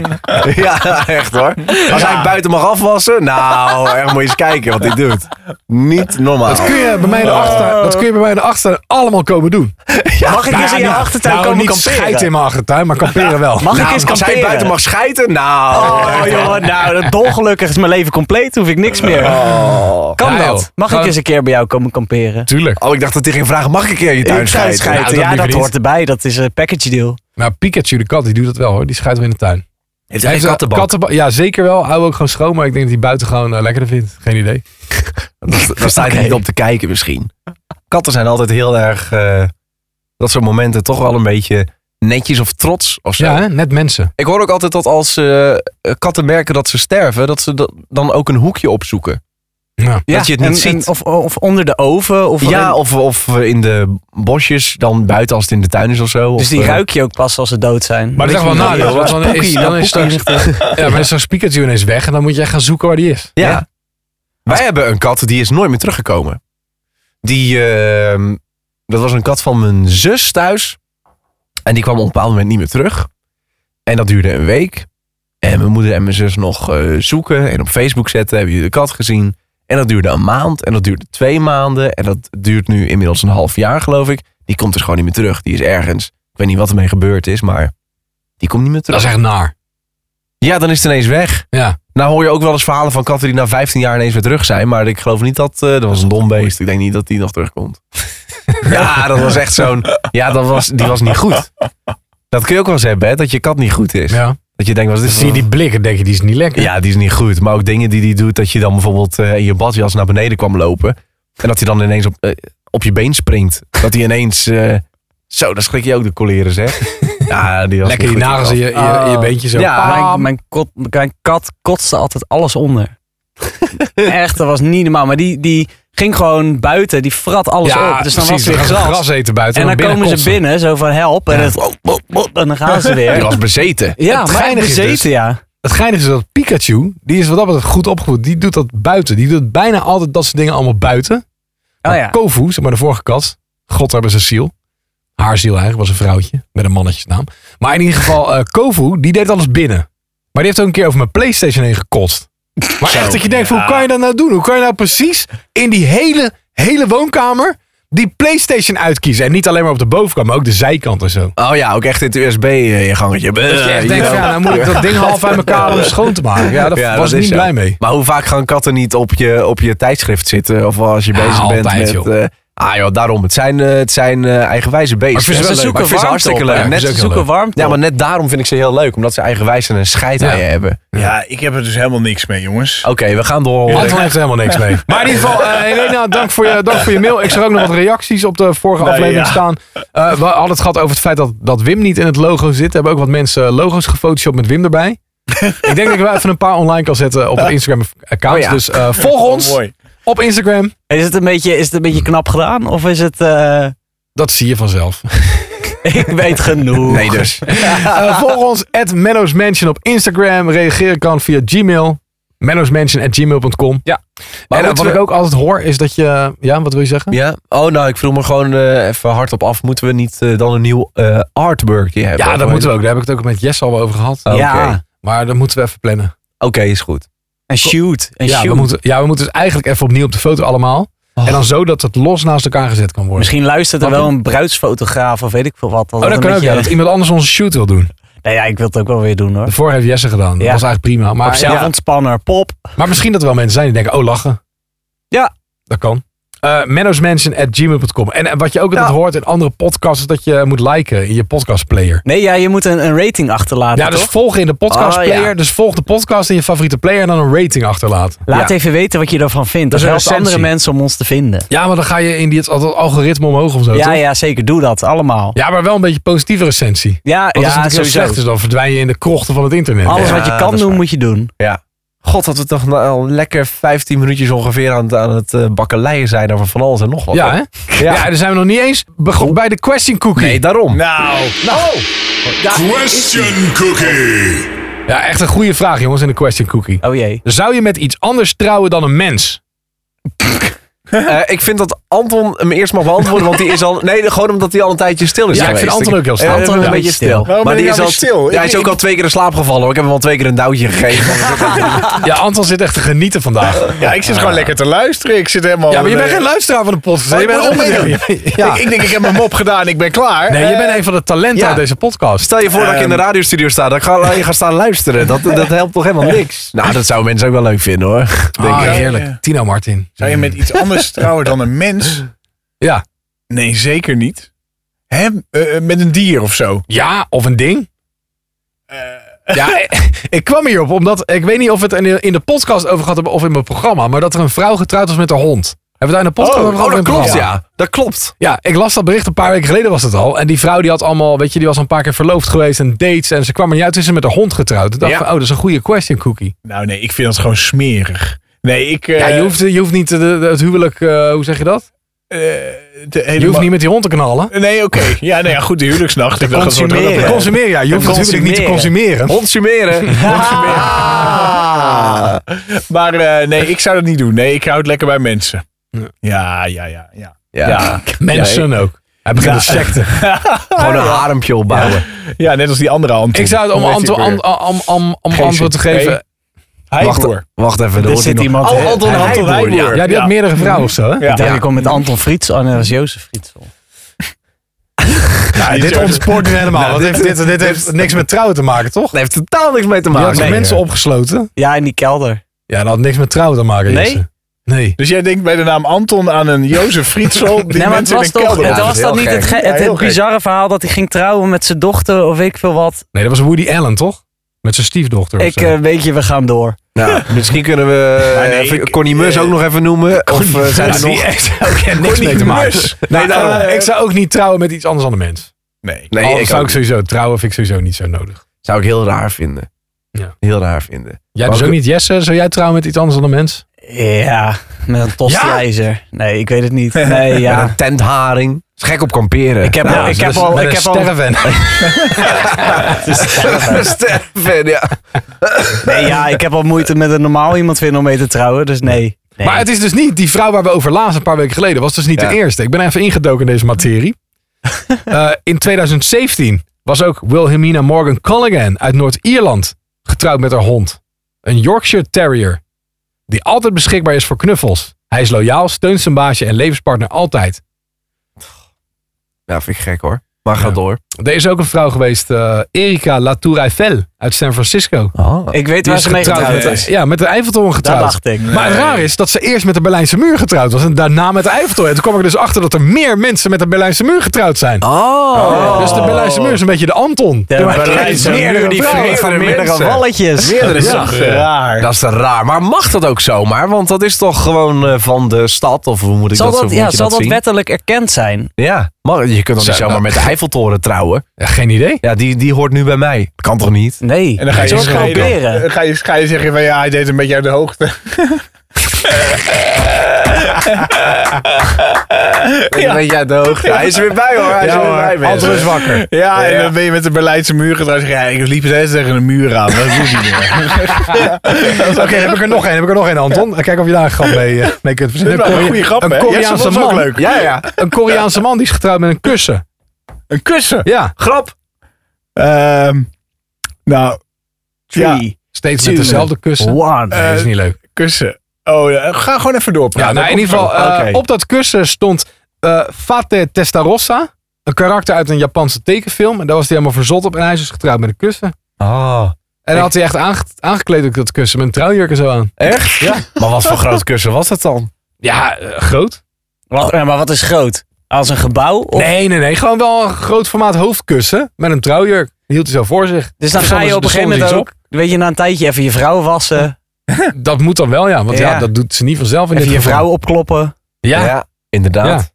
[SPEAKER 2] Ja, echt hoor. Als hij buiten mag afwassen, nou, echt moet je eens kijken wat hij doet. Niet normaal.
[SPEAKER 1] Dat kun je bij mij in de
[SPEAKER 4] Oh.
[SPEAKER 1] achtertuin, dat kun je bij mij in de achtertuin allemaal komen doen.
[SPEAKER 4] Mag ik eens in je
[SPEAKER 1] Nou,
[SPEAKER 4] achtertuin
[SPEAKER 1] nou,
[SPEAKER 4] komen
[SPEAKER 1] niet schijten
[SPEAKER 4] kamperen?
[SPEAKER 1] in mijn achtertuin, maar kamperen wel.
[SPEAKER 4] Mag ik
[SPEAKER 2] Nou,
[SPEAKER 4] eens
[SPEAKER 2] als hij
[SPEAKER 4] kamperen?
[SPEAKER 2] buiten mag schijten, nou.
[SPEAKER 4] Oh
[SPEAKER 2] echt, hoor.
[SPEAKER 4] joh, nou, dat dolgelukkig is mijn leven compleet. Hoef ik niks meer. Kan
[SPEAKER 1] Ja, Nou, joh.
[SPEAKER 4] dat? Mag ik
[SPEAKER 1] Kan-
[SPEAKER 4] eens een keer bij jou komen kamperen?
[SPEAKER 1] Tuurlijk.
[SPEAKER 2] Oh, ik dacht dat hij ging vragen, mag ik een keer in je tuin
[SPEAKER 4] Ik ga
[SPEAKER 2] schijten?
[SPEAKER 4] het schijten.
[SPEAKER 1] Nou, dat
[SPEAKER 4] ja,
[SPEAKER 1] liever
[SPEAKER 4] dat
[SPEAKER 1] niet.
[SPEAKER 4] hoort erbij. Dat is een package deal.
[SPEAKER 1] Nou, Pikachu de kat, die doet dat wel hoor. Die schijt wel in de tuin.
[SPEAKER 2] Heeft
[SPEAKER 1] Hij heeft een kattenba- Ja, zeker wel. Hou ook gewoon schoon, maar ik denk dat hij buiten gewoon eh, lekkerder vindt. Geen idee.
[SPEAKER 2] Daar sta je
[SPEAKER 4] Oké.
[SPEAKER 2] niet op te kijken misschien. Katten zijn altijd heel erg, eh, dat soort momenten, toch wel een beetje netjes of trots of zo.
[SPEAKER 1] Ja, hè? net mensen.
[SPEAKER 2] Ik hoor ook altijd dat als eh, katten merken dat ze sterven, dat ze dat dan ook een hoekje opzoeken.
[SPEAKER 1] Ja.
[SPEAKER 2] Dat je het niet ziet.
[SPEAKER 4] of, of onder de oven. Of
[SPEAKER 2] ja,
[SPEAKER 4] een-
[SPEAKER 2] of, of eh, in de bosjes, dan buiten als het in de tuin is of zo.
[SPEAKER 4] dus
[SPEAKER 2] Of,
[SPEAKER 4] die
[SPEAKER 2] eh,
[SPEAKER 4] ruik je ook pas als ze dood zijn.
[SPEAKER 1] Maar dat is
[SPEAKER 4] Weet
[SPEAKER 1] echt wel
[SPEAKER 4] je
[SPEAKER 1] een
[SPEAKER 4] wel.
[SPEAKER 1] nadeel. Want dan is, dan is straks, ja, maar is zo'n Pikachu ineens weg en dan moet je echt gaan zoeken waar die is.
[SPEAKER 2] Ja. Wij hebben een kat die is nooit meer teruggekomen. Die, ehm, dat was een kat van mijn zus thuis. En die kwam op een bepaald moment niet meer terug. En dat duurde een week. En mijn moeder en mijn zus nog eh, zoeken en op Facebook zetten. Hebben jullie de kat gezien? En dat duurde een maand. En dat duurde twee maanden. En dat duurt nu inmiddels een half jaar, geloof ik. Die komt dus gewoon niet meer terug. Die is ergens. Ik weet niet wat ermee gebeurd is, maar die komt niet meer
[SPEAKER 1] Dat
[SPEAKER 2] terug.
[SPEAKER 1] is echt naar.
[SPEAKER 2] Ja, dan is het ineens weg.
[SPEAKER 1] Ja.
[SPEAKER 2] Nou hoor je ook wel eens verhalen van katten die na 15 jaar ineens weer terug zijn. Maar ik geloof niet dat... eh, dat was een dom beest. Ik denk niet dat die nog terugkomt. ja, dat was echt zo'n... Ja, dat was, die was niet goed. Dat kun je ook wel eens hebben, hè, dat je kat niet goed is.
[SPEAKER 1] Ja.
[SPEAKER 2] Dat je denkt, was dit
[SPEAKER 1] Zie je die blikken, denk je, die is niet lekker.
[SPEAKER 2] Ja, die is niet goed. Maar ook dingen die die doet, dat je dan bijvoorbeeld eh, in je badjas naar beneden kwam lopen. En dat hij dan ineens op, eh, op je been springt. Dat hij ineens... eh, zo, dan schrik je ook de coleren, zeg. Ja, die was
[SPEAKER 1] lekker
[SPEAKER 2] niet
[SPEAKER 1] die
[SPEAKER 2] goed, die
[SPEAKER 1] nagels in
[SPEAKER 2] kat.
[SPEAKER 1] je, je, je
[SPEAKER 4] Oh.
[SPEAKER 1] beentje zo.
[SPEAKER 2] Ja.
[SPEAKER 4] Mijn, mijn, kot- mijn kat kotste altijd alles onder. Echt, dat was niet normaal. Maar die, die ging gewoon buiten, die frat alles
[SPEAKER 1] Ja,
[SPEAKER 4] op. Dus dan
[SPEAKER 1] precies, dan
[SPEAKER 4] was er weer
[SPEAKER 1] gaan ze
[SPEAKER 4] gras.
[SPEAKER 1] gras eten buiten.
[SPEAKER 4] En dan
[SPEAKER 1] binnen
[SPEAKER 4] komen ze
[SPEAKER 1] kotsen.
[SPEAKER 4] binnen, zo van help. En, het- en dan gaan ze
[SPEAKER 2] Die
[SPEAKER 4] weer.
[SPEAKER 2] was bezeten.
[SPEAKER 4] Ja,
[SPEAKER 1] Het
[SPEAKER 4] maar
[SPEAKER 1] geinige is dus-
[SPEAKER 4] bezeten, ja.
[SPEAKER 1] Het geinige is dat Pikachu, die is wat dat betreft goed opgevoed. Die doet dat buiten. Die doet bijna altijd dat soort dingen allemaal buiten.
[SPEAKER 4] Oh
[SPEAKER 1] Maar
[SPEAKER 4] ja.
[SPEAKER 1] Kovu, zeg maar de vorige kat, God hebben zijn ziel. Haar ziel eigenlijk, was een vrouwtje met een mannetjesnaam. Maar in ieder geval, eh, Kovu, die deed alles binnen. Maar die heeft ook een keer over mijn Playstation heen gekotst. Maar echt dat je denkt, hoe kan je dat nou doen? Hoe kan je nou precies in die hele, hele woonkamer die Playstation uitkiezen? En niet alleen maar op de bovenkant, maar ook de zijkant en zo.
[SPEAKER 2] Oh ja, ook echt eh, in het USB-gangetje.
[SPEAKER 1] Dat je echt denkt, van, ja, nou moet ik dat ding half uit elkaar om schoon te maken. Ja, daar
[SPEAKER 2] Ja,
[SPEAKER 1] was
[SPEAKER 2] dat
[SPEAKER 1] ik
[SPEAKER 2] is
[SPEAKER 1] niet
[SPEAKER 2] zo.
[SPEAKER 1] blij mee.
[SPEAKER 2] Maar hoe vaak gaan katten niet op je, op je tijdschrift zitten? Of als je
[SPEAKER 1] Ja,
[SPEAKER 2] bezig bent
[SPEAKER 1] altijd,
[SPEAKER 2] met...
[SPEAKER 1] joh.
[SPEAKER 2] eh, ah joh, daarom. Het zijn, eh, het zijn eh, eigenwijze beesten.
[SPEAKER 1] vind ze wel
[SPEAKER 2] ze
[SPEAKER 1] leuk.
[SPEAKER 2] zoeken
[SPEAKER 1] Maar ik vind
[SPEAKER 2] warmte
[SPEAKER 1] ze
[SPEAKER 2] hartstikke
[SPEAKER 1] hartstikke
[SPEAKER 2] leuk.
[SPEAKER 1] leuk.
[SPEAKER 2] Net,
[SPEAKER 1] Ja,
[SPEAKER 4] Ze
[SPEAKER 1] is ook
[SPEAKER 4] zoeken
[SPEAKER 1] leuk.
[SPEAKER 4] warmte
[SPEAKER 2] ja,
[SPEAKER 4] op.
[SPEAKER 2] maar net daarom vind ik ze heel leuk. Omdat ze eigenwijs en een scheid aan
[SPEAKER 1] Ja.
[SPEAKER 2] je hebben.
[SPEAKER 3] Ja, ik heb er dus helemaal niks mee, jongens.
[SPEAKER 2] Oké, we gaan door.
[SPEAKER 1] Anton heeft er helemaal niks mee. Maar in ieder geval, eh, Helena, dank voor, je, dank voor je mail. Ik zag ook nog wat reacties op de vorige
[SPEAKER 3] Nee,
[SPEAKER 1] aflevering
[SPEAKER 3] ja.
[SPEAKER 1] staan. Eh, we hadden het gehad over het feit dat, dat Wim niet in het logo zit. Er hebben ook wat mensen logo's gefotoshopt met Wim erbij. Ik denk dat ik wel even een paar online kan zetten op het Instagram-account.
[SPEAKER 2] Oh ja.
[SPEAKER 1] Dus eh, volg ons
[SPEAKER 3] mooi.
[SPEAKER 1] op Instagram.
[SPEAKER 4] Is het, een beetje, is het een beetje knap gedaan? Of is het... eh,
[SPEAKER 1] Dat zie je vanzelf.
[SPEAKER 4] ik weet genoeg.
[SPEAKER 2] Nee dus.
[SPEAKER 1] Eh, volg ons at Menno's Mansion op Instagram. Reageren kan via Gmail. Menno'smansion at gmail.com. Ja.
[SPEAKER 2] Maar
[SPEAKER 1] en eh,
[SPEAKER 2] moeten
[SPEAKER 1] wat ik
[SPEAKER 2] we-
[SPEAKER 1] ook altijd hoor is dat je... Ja, wat wil je zeggen?
[SPEAKER 2] Ja? Oh nou, ik vroeg me gewoon eh, even hardop af. Moeten we niet eh, dan een nieuw eh, artworkje hebben?
[SPEAKER 1] Ja, dat moeten we ook. Daar heb ik het ook met Jess al wel over gehad.
[SPEAKER 2] Oké,
[SPEAKER 4] Ja,
[SPEAKER 1] Maar dat moeten we even plannen.
[SPEAKER 2] Oké, is goed.
[SPEAKER 4] een shoot. Een
[SPEAKER 1] Ja we,
[SPEAKER 4] shoot.
[SPEAKER 1] moeten, ja, we moeten dus eigenlijk even opnieuw op de foto allemaal.
[SPEAKER 2] Oh.
[SPEAKER 1] En dan zo dat het los naast elkaar gezet kan worden.
[SPEAKER 4] Misschien luistert er
[SPEAKER 1] Wat
[SPEAKER 4] wel een bruidsfotograaf of weet ik veel wat.
[SPEAKER 1] oh,
[SPEAKER 4] een
[SPEAKER 1] dat kan ook.
[SPEAKER 4] beetje-
[SPEAKER 1] Ja, dat iemand anders onze shoot wil doen.
[SPEAKER 4] Nou ja, ik wil het ook wel weer doen hoor.
[SPEAKER 1] De vorige heeft Jesse gedaan. Dat
[SPEAKER 4] Ja.
[SPEAKER 1] was eigenlijk prima.
[SPEAKER 4] Maar,
[SPEAKER 1] Maar, ja,
[SPEAKER 4] zelfontspanner, pop.
[SPEAKER 1] maar misschien dat er wel mensen zijn die denken, oh, lachen.
[SPEAKER 4] Ja.
[SPEAKER 1] Dat kan. Eh menno'smansion@gmail.com. En eh, wat je ook altijd
[SPEAKER 4] Ja.
[SPEAKER 1] hoort in andere podcasts, is dat je moet liken in je podcastplayer.
[SPEAKER 4] Nee, ja, je moet een, een rating achterlaten,
[SPEAKER 1] Ja, dus
[SPEAKER 4] Ah, toch?
[SPEAKER 1] volg in de podcastplayer.
[SPEAKER 4] Oh, ja.
[SPEAKER 1] Dus volg de podcast in je favoriete player en dan een rating achterlaten.
[SPEAKER 4] Laat even weten wat je ervan vindt.
[SPEAKER 1] Dat
[SPEAKER 4] Dat,
[SPEAKER 1] is een
[SPEAKER 4] helpt andere
[SPEAKER 1] recensie.
[SPEAKER 4] mensen om ons te vinden.
[SPEAKER 1] Ja, maar dan ga je in die, het algoritme omhoog of zo,
[SPEAKER 4] ja,
[SPEAKER 1] Oh, toch?
[SPEAKER 4] ja, zeker. Doe dat allemaal.
[SPEAKER 1] Ja, maar wel een beetje positieve recensie.
[SPEAKER 4] Ja,
[SPEAKER 1] Want
[SPEAKER 4] ja
[SPEAKER 1] als het natuurlijk heel
[SPEAKER 4] sowieso.
[SPEAKER 1] slecht is, dan verdwijn je in de krochten van het internet.
[SPEAKER 4] Alles
[SPEAKER 2] Ja,
[SPEAKER 4] wat je
[SPEAKER 2] dat
[SPEAKER 4] kan
[SPEAKER 2] is
[SPEAKER 4] doen,
[SPEAKER 2] waar.
[SPEAKER 4] moet je doen.
[SPEAKER 2] God, dat we toch nou al lekker 15 minuutjes ongeveer aan het, aan het eh, bakkeleien zijn over van alles en nog wat.
[SPEAKER 1] Ja, hè? Ja. daar zijn we nog niet eens begonnen bij de question cookie.
[SPEAKER 2] Nee, daarom.
[SPEAKER 3] Nou,
[SPEAKER 5] Question Cookie.
[SPEAKER 1] Ja, echt een goede vraag, jongens, in de question cookie.
[SPEAKER 4] Oh jee.
[SPEAKER 1] Zou je met iets anders trouwen dan een mens?
[SPEAKER 2] Eh, ik vind dat Anton hem eerst mag beantwoorden, want die is al... Nee, gewoon omdat hij al een tijdje stil is
[SPEAKER 1] Ja, ik
[SPEAKER 2] geweest.
[SPEAKER 1] vind Anton ook heel stil.
[SPEAKER 2] Eh,
[SPEAKER 4] Anton
[SPEAKER 2] een
[SPEAKER 4] is
[SPEAKER 2] beetje stil.
[SPEAKER 3] Waarom ben je
[SPEAKER 2] is
[SPEAKER 3] nou
[SPEAKER 2] al,
[SPEAKER 3] weer stil?
[SPEAKER 2] ja, hij
[SPEAKER 3] Ik-
[SPEAKER 2] is ook
[SPEAKER 3] ik-
[SPEAKER 2] al twee keer in slaap gevallen hoor. Ik heb hem al twee keer een duwtje gegeven.
[SPEAKER 1] Ja, Anton zit echt te genieten vandaag.
[SPEAKER 3] ja, ik zit gewoon lekker te luisteren. Ik zit helemaal...
[SPEAKER 1] Ja, maar je bent
[SPEAKER 3] eh,
[SPEAKER 1] geen luisteraar van de podcast. hè?
[SPEAKER 3] Oh,
[SPEAKER 1] je
[SPEAKER 3] ik
[SPEAKER 1] bent
[SPEAKER 3] moet
[SPEAKER 1] onderdeel. Ja.
[SPEAKER 3] Ik, ik denk, ik heb mijn mop gedaan, ik ben klaar.
[SPEAKER 1] Nee, je
[SPEAKER 3] Eh,
[SPEAKER 1] bent een van de talenten
[SPEAKER 2] ja.
[SPEAKER 1] uit deze podcast.
[SPEAKER 2] Stel je voor dat ik in de
[SPEAKER 3] Ehm.
[SPEAKER 2] radiostudio sta, dan ga je gaan staan luisteren. Dat, dat helpt toch helemaal niks? Nou, dat zouden mensen ook wel leuk vinden hoor.
[SPEAKER 1] Denk
[SPEAKER 3] ik.
[SPEAKER 1] Ah, heerlijk.
[SPEAKER 3] Ja.
[SPEAKER 1] Tino Martin.
[SPEAKER 3] Zou je met iets anders trouwen dan een mens?
[SPEAKER 1] Ja.
[SPEAKER 3] Nee, zeker niet. Hè? Eh, eh, met een dier of zo.
[SPEAKER 1] Ja, of een ding. Ja, ik kwam hierop omdat ik weet niet of we het in de- in de podcast over gehad hebben of in mijn programma, maar dat er een vrouw getrouwd was met haar hond. Hebben we daar in de podcast
[SPEAKER 2] Oh,
[SPEAKER 1] over gehad? of in het programma?
[SPEAKER 2] Dat klopt.
[SPEAKER 1] Ja, ik las dat bericht een paar weken geleden was het al. En die vrouw die had allemaal, weet je, die was al een paar keer verloofd geweest en dates. En ze kwam er niet uit, ze is met haar hond getrouwd. Ik dacht
[SPEAKER 2] Ja.
[SPEAKER 1] van, oh, dat is een goede question cookie.
[SPEAKER 3] Nou nee, ik vind dat gewoon smerig. Nee, ik... eh,
[SPEAKER 1] Ja, je hoeft, je hoeft niet de- de- het huwelijk, eh, hoe zeg je dat?
[SPEAKER 3] eh, de hele
[SPEAKER 1] Je hoeft
[SPEAKER 3] ma-
[SPEAKER 1] niet met die hond te knallen.
[SPEAKER 3] Nee, oké. Ja, nee, ja, goed, de huwelijksnacht. Ik dacht, dat wordt wel
[SPEAKER 1] Te
[SPEAKER 3] een-
[SPEAKER 1] consumeren, ja. Je hoeft het huwelijk niet te consumeren.
[SPEAKER 2] Hond sumeren.
[SPEAKER 3] Ah. Maar eh, nee, ik zou dat niet doen. Nee, ik hou het lekker bij mensen. Ja, ja, ja, ja.
[SPEAKER 2] Ja.
[SPEAKER 3] Ja.
[SPEAKER 1] Mensen ook. Hij begint een secte.
[SPEAKER 2] Gewoon een harempje opbouwen.
[SPEAKER 3] Ja, net als die andere Anton.
[SPEAKER 1] Ik zou het om,
[SPEAKER 3] Hoe heet
[SPEAKER 1] antwo
[SPEAKER 3] die ook
[SPEAKER 1] om,
[SPEAKER 3] weer?
[SPEAKER 1] om, om, om
[SPEAKER 3] Geen
[SPEAKER 1] antwoord te
[SPEAKER 3] zin.
[SPEAKER 1] geven.
[SPEAKER 3] Nee. Heiboer.
[SPEAKER 2] Wacht even, er
[SPEAKER 4] Er
[SPEAKER 2] hoort
[SPEAKER 4] zit
[SPEAKER 2] hier nog-
[SPEAKER 4] iemand.
[SPEAKER 2] Oh, Anton
[SPEAKER 4] Hij-
[SPEAKER 2] Heiboer.
[SPEAKER 3] Heiboer.
[SPEAKER 2] ja.
[SPEAKER 1] Ja, die had
[SPEAKER 3] Ja.
[SPEAKER 1] meerdere vrouwen of zo, hè?
[SPEAKER 3] Ja.
[SPEAKER 4] Ik dacht, ik kom met Anton Friets. Oh nee, dat is Jozef Friets.
[SPEAKER 1] Ja,
[SPEAKER 3] Die
[SPEAKER 1] dit
[SPEAKER 3] is-
[SPEAKER 1] ontspoort nu helemaal. want dit, dit, dit heeft niks met trouwen te maken, toch?
[SPEAKER 2] Dat heeft totaal niks mee te
[SPEAKER 1] Je had
[SPEAKER 2] maken.
[SPEAKER 1] die
[SPEAKER 2] Nee.
[SPEAKER 1] mensen opgesloten.
[SPEAKER 4] Ja, in die kelder.
[SPEAKER 1] Ja, dat had niks met trouwen te maken,
[SPEAKER 4] Nee?
[SPEAKER 1] Jesse. Nee.
[SPEAKER 3] Dus jij denkt bij de naam Anton aan een Jozef Frietsel. Die
[SPEAKER 4] nee, maar het
[SPEAKER 3] mensen in
[SPEAKER 4] was
[SPEAKER 3] een
[SPEAKER 4] toch.
[SPEAKER 3] kelder
[SPEAKER 4] Het
[SPEAKER 2] Ja, dat
[SPEAKER 4] was
[SPEAKER 2] is
[SPEAKER 4] dat
[SPEAKER 2] heel
[SPEAKER 4] niet het,
[SPEAKER 2] gek.
[SPEAKER 4] ge- het,
[SPEAKER 3] Ja, heel
[SPEAKER 4] het bizarre verhaal dat hij ging trouwen met zijn dochter of weet ik veel wat.
[SPEAKER 1] Nee, dat was Woody Allen, toch? Met zijn stiefdochter. of
[SPEAKER 4] Ik
[SPEAKER 1] zo.
[SPEAKER 4] eh, weet je, we gaan door.
[SPEAKER 2] Nou, misschien kunnen we
[SPEAKER 3] Maar nee,
[SPEAKER 2] even
[SPEAKER 3] ik-
[SPEAKER 2] Connie Mus ook nog even noemen. Of eh, zijn er
[SPEAKER 1] Ja, die
[SPEAKER 2] nog...
[SPEAKER 1] heeft ook echt niks
[SPEAKER 3] Connie
[SPEAKER 1] mee te maken.
[SPEAKER 3] Mus.
[SPEAKER 1] Nee,
[SPEAKER 3] Nou,
[SPEAKER 1] daarom.
[SPEAKER 3] eh,
[SPEAKER 1] ik zou ook niet trouwen met iets anders dan een mens.
[SPEAKER 3] Nee.
[SPEAKER 1] Al
[SPEAKER 2] Nee, ik
[SPEAKER 1] zou
[SPEAKER 2] zou,
[SPEAKER 1] ik sowieso trouwen, vind ik sowieso niet zo nodig.
[SPEAKER 2] zou ik heel raar vinden.
[SPEAKER 1] Ja.
[SPEAKER 2] Heel raar vinden.
[SPEAKER 1] Jij
[SPEAKER 2] Maar
[SPEAKER 1] dus ook
[SPEAKER 2] ook-
[SPEAKER 1] niet, Jesse? Zou jij trouwen met iets anders dan een mens?
[SPEAKER 4] Ja, met een tostijzer. Nee, ik weet het niet. Nee,
[SPEAKER 2] Ja.
[SPEAKER 4] ja.
[SPEAKER 2] Een tentharing. Is gek op kamperen.
[SPEAKER 4] Ik heb, al, ik
[SPEAKER 1] Dus
[SPEAKER 4] heb al, ik heb al,
[SPEAKER 2] Sterven, ja.
[SPEAKER 4] nee, ja, ik heb al moeite met een normaal iemand vinden om mee te trouwen, dus nee. nee.
[SPEAKER 1] Maar het is dus niet, die vrouw waar we over lazen een paar weken geleden, was dus niet
[SPEAKER 2] Ja.
[SPEAKER 1] de eerste. Ik ben even ingedoken in deze materie. Eh, in 2017 was ook Wilhelmina Morgan Colligan uit Noord-Ierland getrouwd met haar hond. Een Yorkshire Terrier, die altijd beschikbaar is voor knuffels. Hij is loyaal, steunt zijn baasje en levenspartner altijd.
[SPEAKER 2] Ja, vind ik gek hoor. Maar ga
[SPEAKER 1] Ja.
[SPEAKER 2] door.
[SPEAKER 1] Er is ook een vrouw geweest, eh, Erika Latour Eiffel uit San Francisco.
[SPEAKER 4] ik weet
[SPEAKER 1] Die
[SPEAKER 4] waar
[SPEAKER 1] is
[SPEAKER 4] ze mee getrouwd
[SPEAKER 1] met,
[SPEAKER 4] is.
[SPEAKER 1] ja, met de Eiffeltoren
[SPEAKER 4] Dat
[SPEAKER 1] getrouwd.
[SPEAKER 4] dacht ik.
[SPEAKER 1] Maar het raar is dat ze eerst met de Berlijnse muur getrouwd was en daarna met de Eiffeltoren. En toen kwam ik er dus achter dat er meer mensen met de Berlijnse muur getrouwd zijn.
[SPEAKER 2] Oh.
[SPEAKER 1] Dus de Berlijnse muur is een beetje de Anton.
[SPEAKER 4] De
[SPEAKER 1] Maar-
[SPEAKER 4] Berlijnse
[SPEAKER 1] meerdere
[SPEAKER 4] muur die
[SPEAKER 1] vrouwen.
[SPEAKER 4] vreet van meerdere
[SPEAKER 2] mensen.
[SPEAKER 4] walletjes.
[SPEAKER 3] Dat is
[SPEAKER 2] Ja.
[SPEAKER 3] toch raar.
[SPEAKER 2] Dat is te raar. Maar mag dat ook zomaar? Want dat is toch gewoon eh, van de stad? Of hoe moet ik
[SPEAKER 4] Zal
[SPEAKER 2] dat, zo
[SPEAKER 4] dat,
[SPEAKER 2] moet
[SPEAKER 4] ja,
[SPEAKER 2] je
[SPEAKER 4] zal dat
[SPEAKER 2] zien?
[SPEAKER 4] wettelijk erkend zijn?
[SPEAKER 2] Ja. Mag, je kunt dan niet
[SPEAKER 1] Zo,
[SPEAKER 2] zomaar
[SPEAKER 1] nou.
[SPEAKER 2] met de Eiffeltoren trouwen.
[SPEAKER 1] Ja, geen idee.
[SPEAKER 2] Ja, die, die hoort nu bij mij. Dat kan toch niet?
[SPEAKER 4] Nee.
[SPEAKER 3] En dan ga je,
[SPEAKER 4] Zullen we het
[SPEAKER 3] schrijven-
[SPEAKER 4] proberen.
[SPEAKER 3] ga, je, ga je zeggen van ja, hij deed een beetje uit de hoogte.
[SPEAKER 2] Ja. Weet jij de hoogte? Hij is er weer bij hoor. Hij is er weer bij. mensen.
[SPEAKER 3] Anton is
[SPEAKER 1] wakker.
[SPEAKER 3] Ja, en
[SPEAKER 2] ja.
[SPEAKER 3] dan ben je met de Berlijnse muur getrouwd. Zeg je, Ja, ik liep steeds tegen een muur aan. maar Dat doe niet meer.
[SPEAKER 1] Oké, heb ik er nog één. Heb ik er nog één, Anton? Kijk of je daar een grap mee, eh, mee kunt verzinnen.
[SPEAKER 3] Dat is wel een goede grap, hè?
[SPEAKER 1] een
[SPEAKER 3] Jesse
[SPEAKER 1] Koreaanse
[SPEAKER 3] vond het ook
[SPEAKER 1] man.
[SPEAKER 3] leuk.
[SPEAKER 2] Ja, ja.
[SPEAKER 1] Een Koreaanse man die is getrouwd met een kussen.
[SPEAKER 3] Een kussen.
[SPEAKER 1] Ja,
[SPEAKER 2] Grap.
[SPEAKER 3] Ehm, nou, ja, eh,
[SPEAKER 4] Three,
[SPEAKER 1] steeds met dezelfde kussen.
[SPEAKER 4] one.
[SPEAKER 1] Nee, dat is niet leuk.
[SPEAKER 3] kussen. Oh, ja, ga gewoon even
[SPEAKER 1] Ja,
[SPEAKER 3] doorpraten.
[SPEAKER 1] nou, in
[SPEAKER 3] Kom
[SPEAKER 1] ieder geval,
[SPEAKER 3] zo.
[SPEAKER 1] eh,
[SPEAKER 3] Oké.
[SPEAKER 1] op dat kussen stond eh Fate Testarossa. Een karakter uit een Japanse tekenfilm. En daar was hij helemaal verzot op. En hij is dus getrouwd met een kussen.
[SPEAKER 2] Oh.
[SPEAKER 1] En dan had hij echt aange- aangekleed ook dat kussen met een trouwjurk en zo aan.
[SPEAKER 2] Echt? Ja. Maar wat voor groot kussen was dat dan?
[SPEAKER 1] Ja, eh, groot.
[SPEAKER 4] Wacht, maar wat is groot? Als een gebouw? Of,
[SPEAKER 1] Nee, nee, nee. Gewoon wel een groot formaat hoofdkussen met een trouwjurk. Die hield hij zo voor zich.
[SPEAKER 4] dus dan
[SPEAKER 1] De
[SPEAKER 4] ga
[SPEAKER 1] zon
[SPEAKER 4] je
[SPEAKER 1] is-
[SPEAKER 4] op een
[SPEAKER 1] de
[SPEAKER 4] gegeven
[SPEAKER 1] zon
[SPEAKER 4] moment
[SPEAKER 1] is
[SPEAKER 4] ook, weet je, na een tijdje even je vrouw wassen.
[SPEAKER 1] Dat moet dan wel, ja. Want ja,
[SPEAKER 4] Ja.
[SPEAKER 1] dat doet ze niet vanzelf in
[SPEAKER 4] Even
[SPEAKER 1] dit
[SPEAKER 4] je
[SPEAKER 1] geval.
[SPEAKER 4] vrouw opkloppen.
[SPEAKER 1] Ja. ja.
[SPEAKER 2] inderdaad.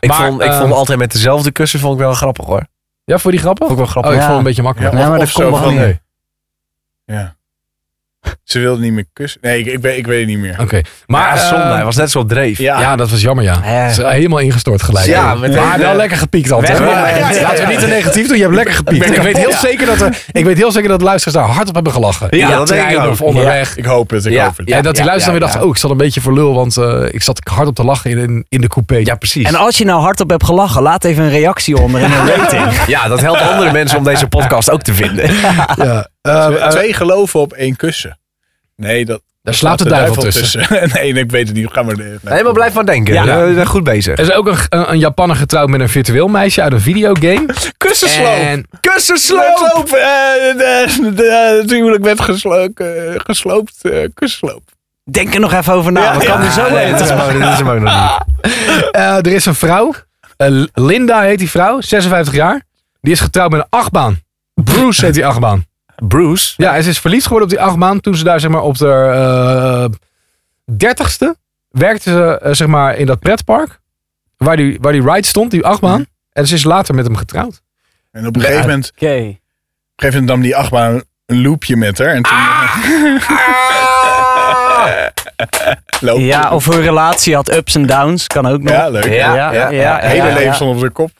[SPEAKER 2] Ik,
[SPEAKER 1] Maar,
[SPEAKER 2] vond, ik
[SPEAKER 1] ehm,
[SPEAKER 2] vond altijd met dezelfde kussen vond ik wel grappig hoor.
[SPEAKER 1] voor die grappen?
[SPEAKER 2] Vond ik wel
[SPEAKER 1] Oh,
[SPEAKER 2] grappig.
[SPEAKER 1] ik
[SPEAKER 4] Ja.
[SPEAKER 1] vond het een beetje makkelijk.
[SPEAKER 3] Ja,
[SPEAKER 4] maar
[SPEAKER 3] of-
[SPEAKER 4] dat
[SPEAKER 3] of zo
[SPEAKER 4] komt wel
[SPEAKER 3] van,
[SPEAKER 4] niet.
[SPEAKER 3] Ja. Ze wilde niet meer kussen. Nee, ik, ik, weet, ik weet het niet meer.
[SPEAKER 1] Oké. Maar
[SPEAKER 2] ja, zonde.
[SPEAKER 1] eh,
[SPEAKER 2] Hij was net zo op dreef.
[SPEAKER 3] Ja,
[SPEAKER 1] Ja, dat was jammer, ja.
[SPEAKER 4] Eh.
[SPEAKER 1] Ze helemaal ingestort gelijk.
[SPEAKER 2] Ja,
[SPEAKER 1] maar
[SPEAKER 2] meteen,
[SPEAKER 1] wel
[SPEAKER 2] eh,
[SPEAKER 1] lekker gepiekt altijd.
[SPEAKER 2] weg
[SPEAKER 1] hè?
[SPEAKER 2] maar. Ja, ja,
[SPEAKER 1] Laten we
[SPEAKER 2] ja.
[SPEAKER 1] niet te negatief doen. Je hebt lekker gepiekt.
[SPEAKER 3] Ik
[SPEAKER 1] Ik,
[SPEAKER 3] ben
[SPEAKER 1] weet heel
[SPEAKER 3] kapot.
[SPEAKER 1] zeker dat er, ik weet heel zeker dat de luisteraars daar hard op hebben gelachen.
[SPEAKER 2] Ja,
[SPEAKER 1] In de
[SPEAKER 2] dat denk ik
[SPEAKER 1] trein
[SPEAKER 2] ook.
[SPEAKER 1] Of onderweg.
[SPEAKER 3] ik hoop het. Ik
[SPEAKER 2] Ja.
[SPEAKER 3] hoop het.
[SPEAKER 2] Ja.
[SPEAKER 1] en dat die luisteraar
[SPEAKER 2] ja,
[SPEAKER 1] weer dacht,
[SPEAKER 2] ja.
[SPEAKER 1] oh, ik zat een beetje voor lul, want eh, ik zat hard op te lachen in, in, in de coupé.
[SPEAKER 2] Ja, precies.
[SPEAKER 4] En als je nou hardop hebt gelachen, laat even een reactie onder in een rating.
[SPEAKER 2] Ja, dat helpt andere mensen om deze podcast ook te vinden.
[SPEAKER 1] Ja.
[SPEAKER 3] Twee- Twee geloven op één kussen. Nee, dat,
[SPEAKER 1] daar slaapt de duivel tussen.
[SPEAKER 3] nee, ik weet het niet. Ga maar. Nee,
[SPEAKER 2] Helemaal blijf van denken.
[SPEAKER 4] Ja.
[SPEAKER 2] Ja. We zijn goed bezig.
[SPEAKER 1] Er is ook een, een, een Japanner getrouwd met een virtueel meisje uit een videogame.
[SPEAKER 3] Kussensloop.
[SPEAKER 1] En
[SPEAKER 2] Kussensloop!
[SPEAKER 3] Sloop. eh, de- de- de- Het huwelijk werd gesloopt. eh, gesloopt eh, kussensloop.
[SPEAKER 4] Denk er nog even over na.
[SPEAKER 3] Ja,
[SPEAKER 4] we komen
[SPEAKER 2] Ja,
[SPEAKER 4] er zo
[SPEAKER 2] nee,
[SPEAKER 4] in.
[SPEAKER 2] dat is hem ook- dat is hem ook nog niet.
[SPEAKER 1] eh, er is een vrouw, eh, Linda heet die vrouw, 56 jaar. Die is getrouwd met een achtbaan. Bruce heet die achtbaan.
[SPEAKER 2] Bruce.
[SPEAKER 1] Ja, en ze is verliefd geworden op die achtbaan. Toen ze daar zeg maar op de dertigste werkte ze eh, zeg maar in dat pretpark. Waar die, waar die ride stond, die achtbaan.
[SPEAKER 4] Mhm.
[SPEAKER 1] En ze is later met hem getrouwd.
[SPEAKER 3] En op een gegeven moment, op
[SPEAKER 4] Oké.
[SPEAKER 3] een gegeven moment nam die achtbaan een loopje met haar. En toen loopt
[SPEAKER 4] Ja, of hun relatie had ups en downs. Kan ook nog.
[SPEAKER 3] Ja, leuk.
[SPEAKER 2] Ja,
[SPEAKER 4] ja,
[SPEAKER 2] ja.
[SPEAKER 4] ja, ja,
[SPEAKER 3] Hele
[SPEAKER 4] ja,
[SPEAKER 3] leven
[SPEAKER 4] ja.
[SPEAKER 3] stond op zijn kop.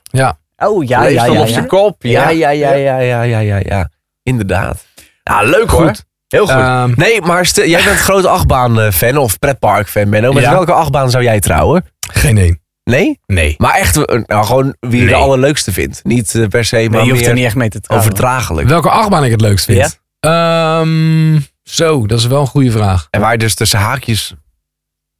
[SPEAKER 4] Oh, ja,
[SPEAKER 2] Leef
[SPEAKER 4] ja,
[SPEAKER 2] dan
[SPEAKER 4] ja.
[SPEAKER 2] op
[SPEAKER 4] ja.
[SPEAKER 2] zijn kop. Ja, ja, ja, ja, ja, ja, ja, ja. Inderdaad. Ja, leuk hoor.
[SPEAKER 1] Goed.
[SPEAKER 2] Heel goed. Eh,
[SPEAKER 1] Ehm,
[SPEAKER 2] nee, maar stel- jij bent groot achtbaan-fan eh, of pretpark-fan, Menno. Met
[SPEAKER 1] Ja.
[SPEAKER 2] welke achtbaan zou jij trouwen?
[SPEAKER 1] geen één.
[SPEAKER 2] Nee?
[SPEAKER 1] Nee.
[SPEAKER 2] Maar echt, eh, nou, gewoon wie je de
[SPEAKER 1] Nee.
[SPEAKER 2] allerleukste vindt. Niet eh, per se,
[SPEAKER 4] Nee,
[SPEAKER 2] maar
[SPEAKER 4] je hoeft er
[SPEAKER 2] meer
[SPEAKER 4] niet echt mee te trouwen.
[SPEAKER 2] overdraaglijk.
[SPEAKER 1] Welke achtbaan ik het leukst vind? Ehm, zo, dat is wel een goede vraag.
[SPEAKER 2] En waar je dus tussen haakjes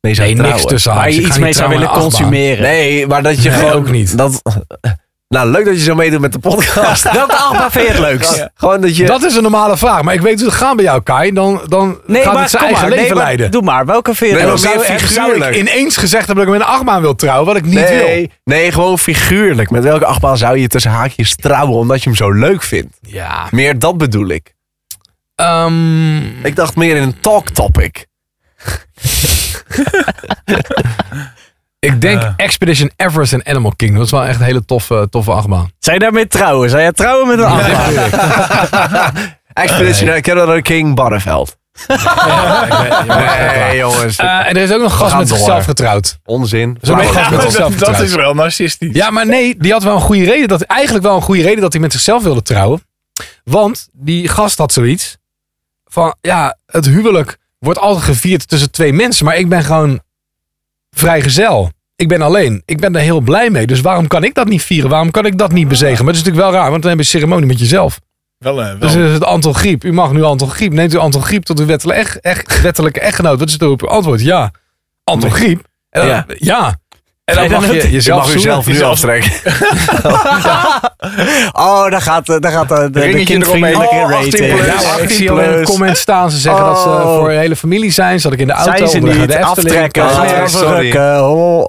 [SPEAKER 2] mee zou
[SPEAKER 1] Nee,
[SPEAKER 2] trouwen.
[SPEAKER 1] niks tussen
[SPEAKER 4] Waar
[SPEAKER 1] haakjes.
[SPEAKER 4] je
[SPEAKER 1] Ik ga
[SPEAKER 4] iets
[SPEAKER 1] niet
[SPEAKER 4] mee zou
[SPEAKER 1] trouwen
[SPEAKER 4] willen
[SPEAKER 1] aan een achtbaan.
[SPEAKER 4] consumeren.
[SPEAKER 2] Nee, maar dat je
[SPEAKER 1] Nee,
[SPEAKER 2] gewoon...
[SPEAKER 1] ook niet.
[SPEAKER 2] Dat, nou, leuk dat je zo meedoet met de podcast.
[SPEAKER 4] Welke achtbaan vind je het leukst?
[SPEAKER 2] Ja. Gewoon dat je...
[SPEAKER 1] Dat is een normale vraag. Maar ik weet hoe het gaat bij jou, Kai. Dan, dan gaat het zijn
[SPEAKER 4] kom
[SPEAKER 1] eigen
[SPEAKER 4] maar,
[SPEAKER 1] leven
[SPEAKER 4] nee, maar
[SPEAKER 1] leiden.
[SPEAKER 4] Doe maar. Welke vind je
[SPEAKER 2] Nee,
[SPEAKER 4] het
[SPEAKER 2] maar
[SPEAKER 4] leukst?
[SPEAKER 2] meer
[SPEAKER 1] zou, zou ik
[SPEAKER 2] figuurlijk.
[SPEAKER 1] ineens gezegd hebben dat ik met een achtbaan wil trouwen, wat ik niet wil?
[SPEAKER 2] nee, nee, gewoon figuurlijk. Met welke achtbaan zou je tussen haakjes trouwen omdat je hem zo leuk vindt?
[SPEAKER 1] Ja.
[SPEAKER 2] Meer dat bedoel ik.
[SPEAKER 1] Ehm,
[SPEAKER 2] Ik dacht meer in een talk topic. Eh.
[SPEAKER 1] Ik denk Expedition Everest en Animal Kingdom. Dat is wel echt een hele toffe, toffe achtbaan.
[SPEAKER 4] Zou je daarmee trouwen? Zou jij trouwen met een achtbaan?
[SPEAKER 2] Expedition nee. Canada King Barneveld. Nee, jongens.
[SPEAKER 1] Eh, en er is ook nog een gast
[SPEAKER 2] gaan
[SPEAKER 1] met
[SPEAKER 2] door.
[SPEAKER 1] zichzelf getrouwd.
[SPEAKER 2] Onzin.
[SPEAKER 1] Zo'n
[SPEAKER 2] Flauwe-
[SPEAKER 1] gast met
[SPEAKER 3] dat,
[SPEAKER 1] zichzelf
[SPEAKER 3] dat
[SPEAKER 1] getrouwd.
[SPEAKER 3] is wel narcistisch.
[SPEAKER 1] Ja, maar nee, die had wel een goede reden. Dat, eigenlijk wel een goede reden dat hij met zichzelf wilde trouwen. Want die gast had zoiets van, ja, het huwelijk wordt altijd gevierd tussen twee mensen. Maar ik ben gewoon vrijgezel. Ik ben alleen. Ik ben er heel blij mee. Dus waarom kan ik dat niet vieren? Waarom kan ik dat niet bezegen? Maar het is natuurlijk wel raar, want dan heb je een ceremonie met jezelf.
[SPEAKER 3] Wel, eh, wel.
[SPEAKER 1] Dus is het Anton Griep. U mag nu Anton Griep. Neemt u Anton Griep tot uw wettelijke, echt, echt, wettelijke echtgenoot? Wat is het op uw antwoord? Ja. Anton Griep? En dan-
[SPEAKER 2] Ja.
[SPEAKER 1] ja. En dan
[SPEAKER 4] Nee, dan
[SPEAKER 1] mag
[SPEAKER 4] ook-
[SPEAKER 1] je
[SPEAKER 2] Je
[SPEAKER 1] jezelf
[SPEAKER 2] mag
[SPEAKER 1] zoenen.
[SPEAKER 2] jezelf nu
[SPEAKER 3] Jezelf-
[SPEAKER 2] aftrekken.
[SPEAKER 4] Oh, daar gaat, eh, daar gaat eh, de, de
[SPEAKER 3] Ringetje
[SPEAKER 4] kindvriendelijke
[SPEAKER 3] eromheen. Oh,
[SPEAKER 4] rating.
[SPEAKER 3] 18 plus.
[SPEAKER 1] Ja, maar ik
[SPEAKER 2] 18
[SPEAKER 1] zie alleen in de
[SPEAKER 2] plus.
[SPEAKER 1] comments staan. Ze zeggen dat ze eh,
[SPEAKER 2] Oh.
[SPEAKER 1] voor de hele familie zijn. Zat ik in de auto.
[SPEAKER 4] Zijn ze
[SPEAKER 1] onderweg
[SPEAKER 4] niet?
[SPEAKER 1] naar de Efteling. Oh,
[SPEAKER 4] Aftrekken.
[SPEAKER 2] Ah,
[SPEAKER 4] Gaan we
[SPEAKER 2] sorry.
[SPEAKER 4] rukken. Oh.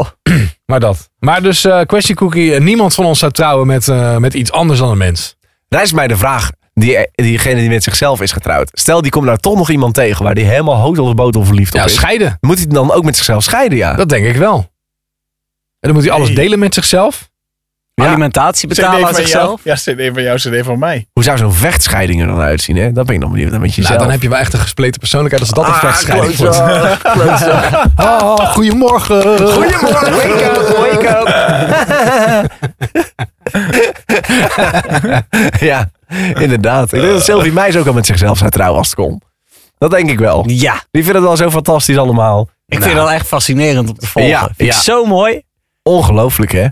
[SPEAKER 1] Maar dat. Maar dus eh Question Cookie. eh, Niemand van ons zou trouwen met, eh, met iets anders dan een mens.
[SPEAKER 2] Daar is mij de vraag. Die, eh, diegene die met zichzelf is getrouwd. Stel, die komt nou toch nog iemand tegen waar die helemaal hotel of botel verliefd op
[SPEAKER 1] Ja,
[SPEAKER 2] is.
[SPEAKER 1] scheiden.
[SPEAKER 2] Moet hij dan ook met zichzelf scheiden, ja?
[SPEAKER 1] Dat denk ik wel. En dan moet hij alles
[SPEAKER 3] Nee.
[SPEAKER 1] delen met zichzelf.
[SPEAKER 2] Ja.
[SPEAKER 4] Alimentatie
[SPEAKER 3] CD
[SPEAKER 4] betalen aan
[SPEAKER 3] van
[SPEAKER 4] zichzelf.
[SPEAKER 3] Jou, ja, CD van jou, CD van mij.
[SPEAKER 2] Hoe zou zo'n vechtscheiding er dan uitzien, hè? Dat ben ik nog benieuwd naar met jezelf.
[SPEAKER 1] Nou, dan heb je wel echt een gespleten persoonlijkheid als dat een
[SPEAKER 2] Ah,
[SPEAKER 1] vechtscheiding wordt.
[SPEAKER 2] klootzak, klootzak.
[SPEAKER 1] Oh, goedemorgen.
[SPEAKER 2] Goedemorgen, wake up, wake up. ja, inderdaad. Ik denk dat Sylvie Meijs ook al met zichzelf zou trouwen als het kon. Dat denk ik wel.
[SPEAKER 4] Ja,
[SPEAKER 2] Die vinden het wel zo fantastisch allemaal. Nou,
[SPEAKER 4] ik vind dat echt fascinerend om te volgen.
[SPEAKER 2] Ja,
[SPEAKER 4] Vind ik
[SPEAKER 2] ja.
[SPEAKER 4] zo mooi.
[SPEAKER 2] Ongelooflijk, hè?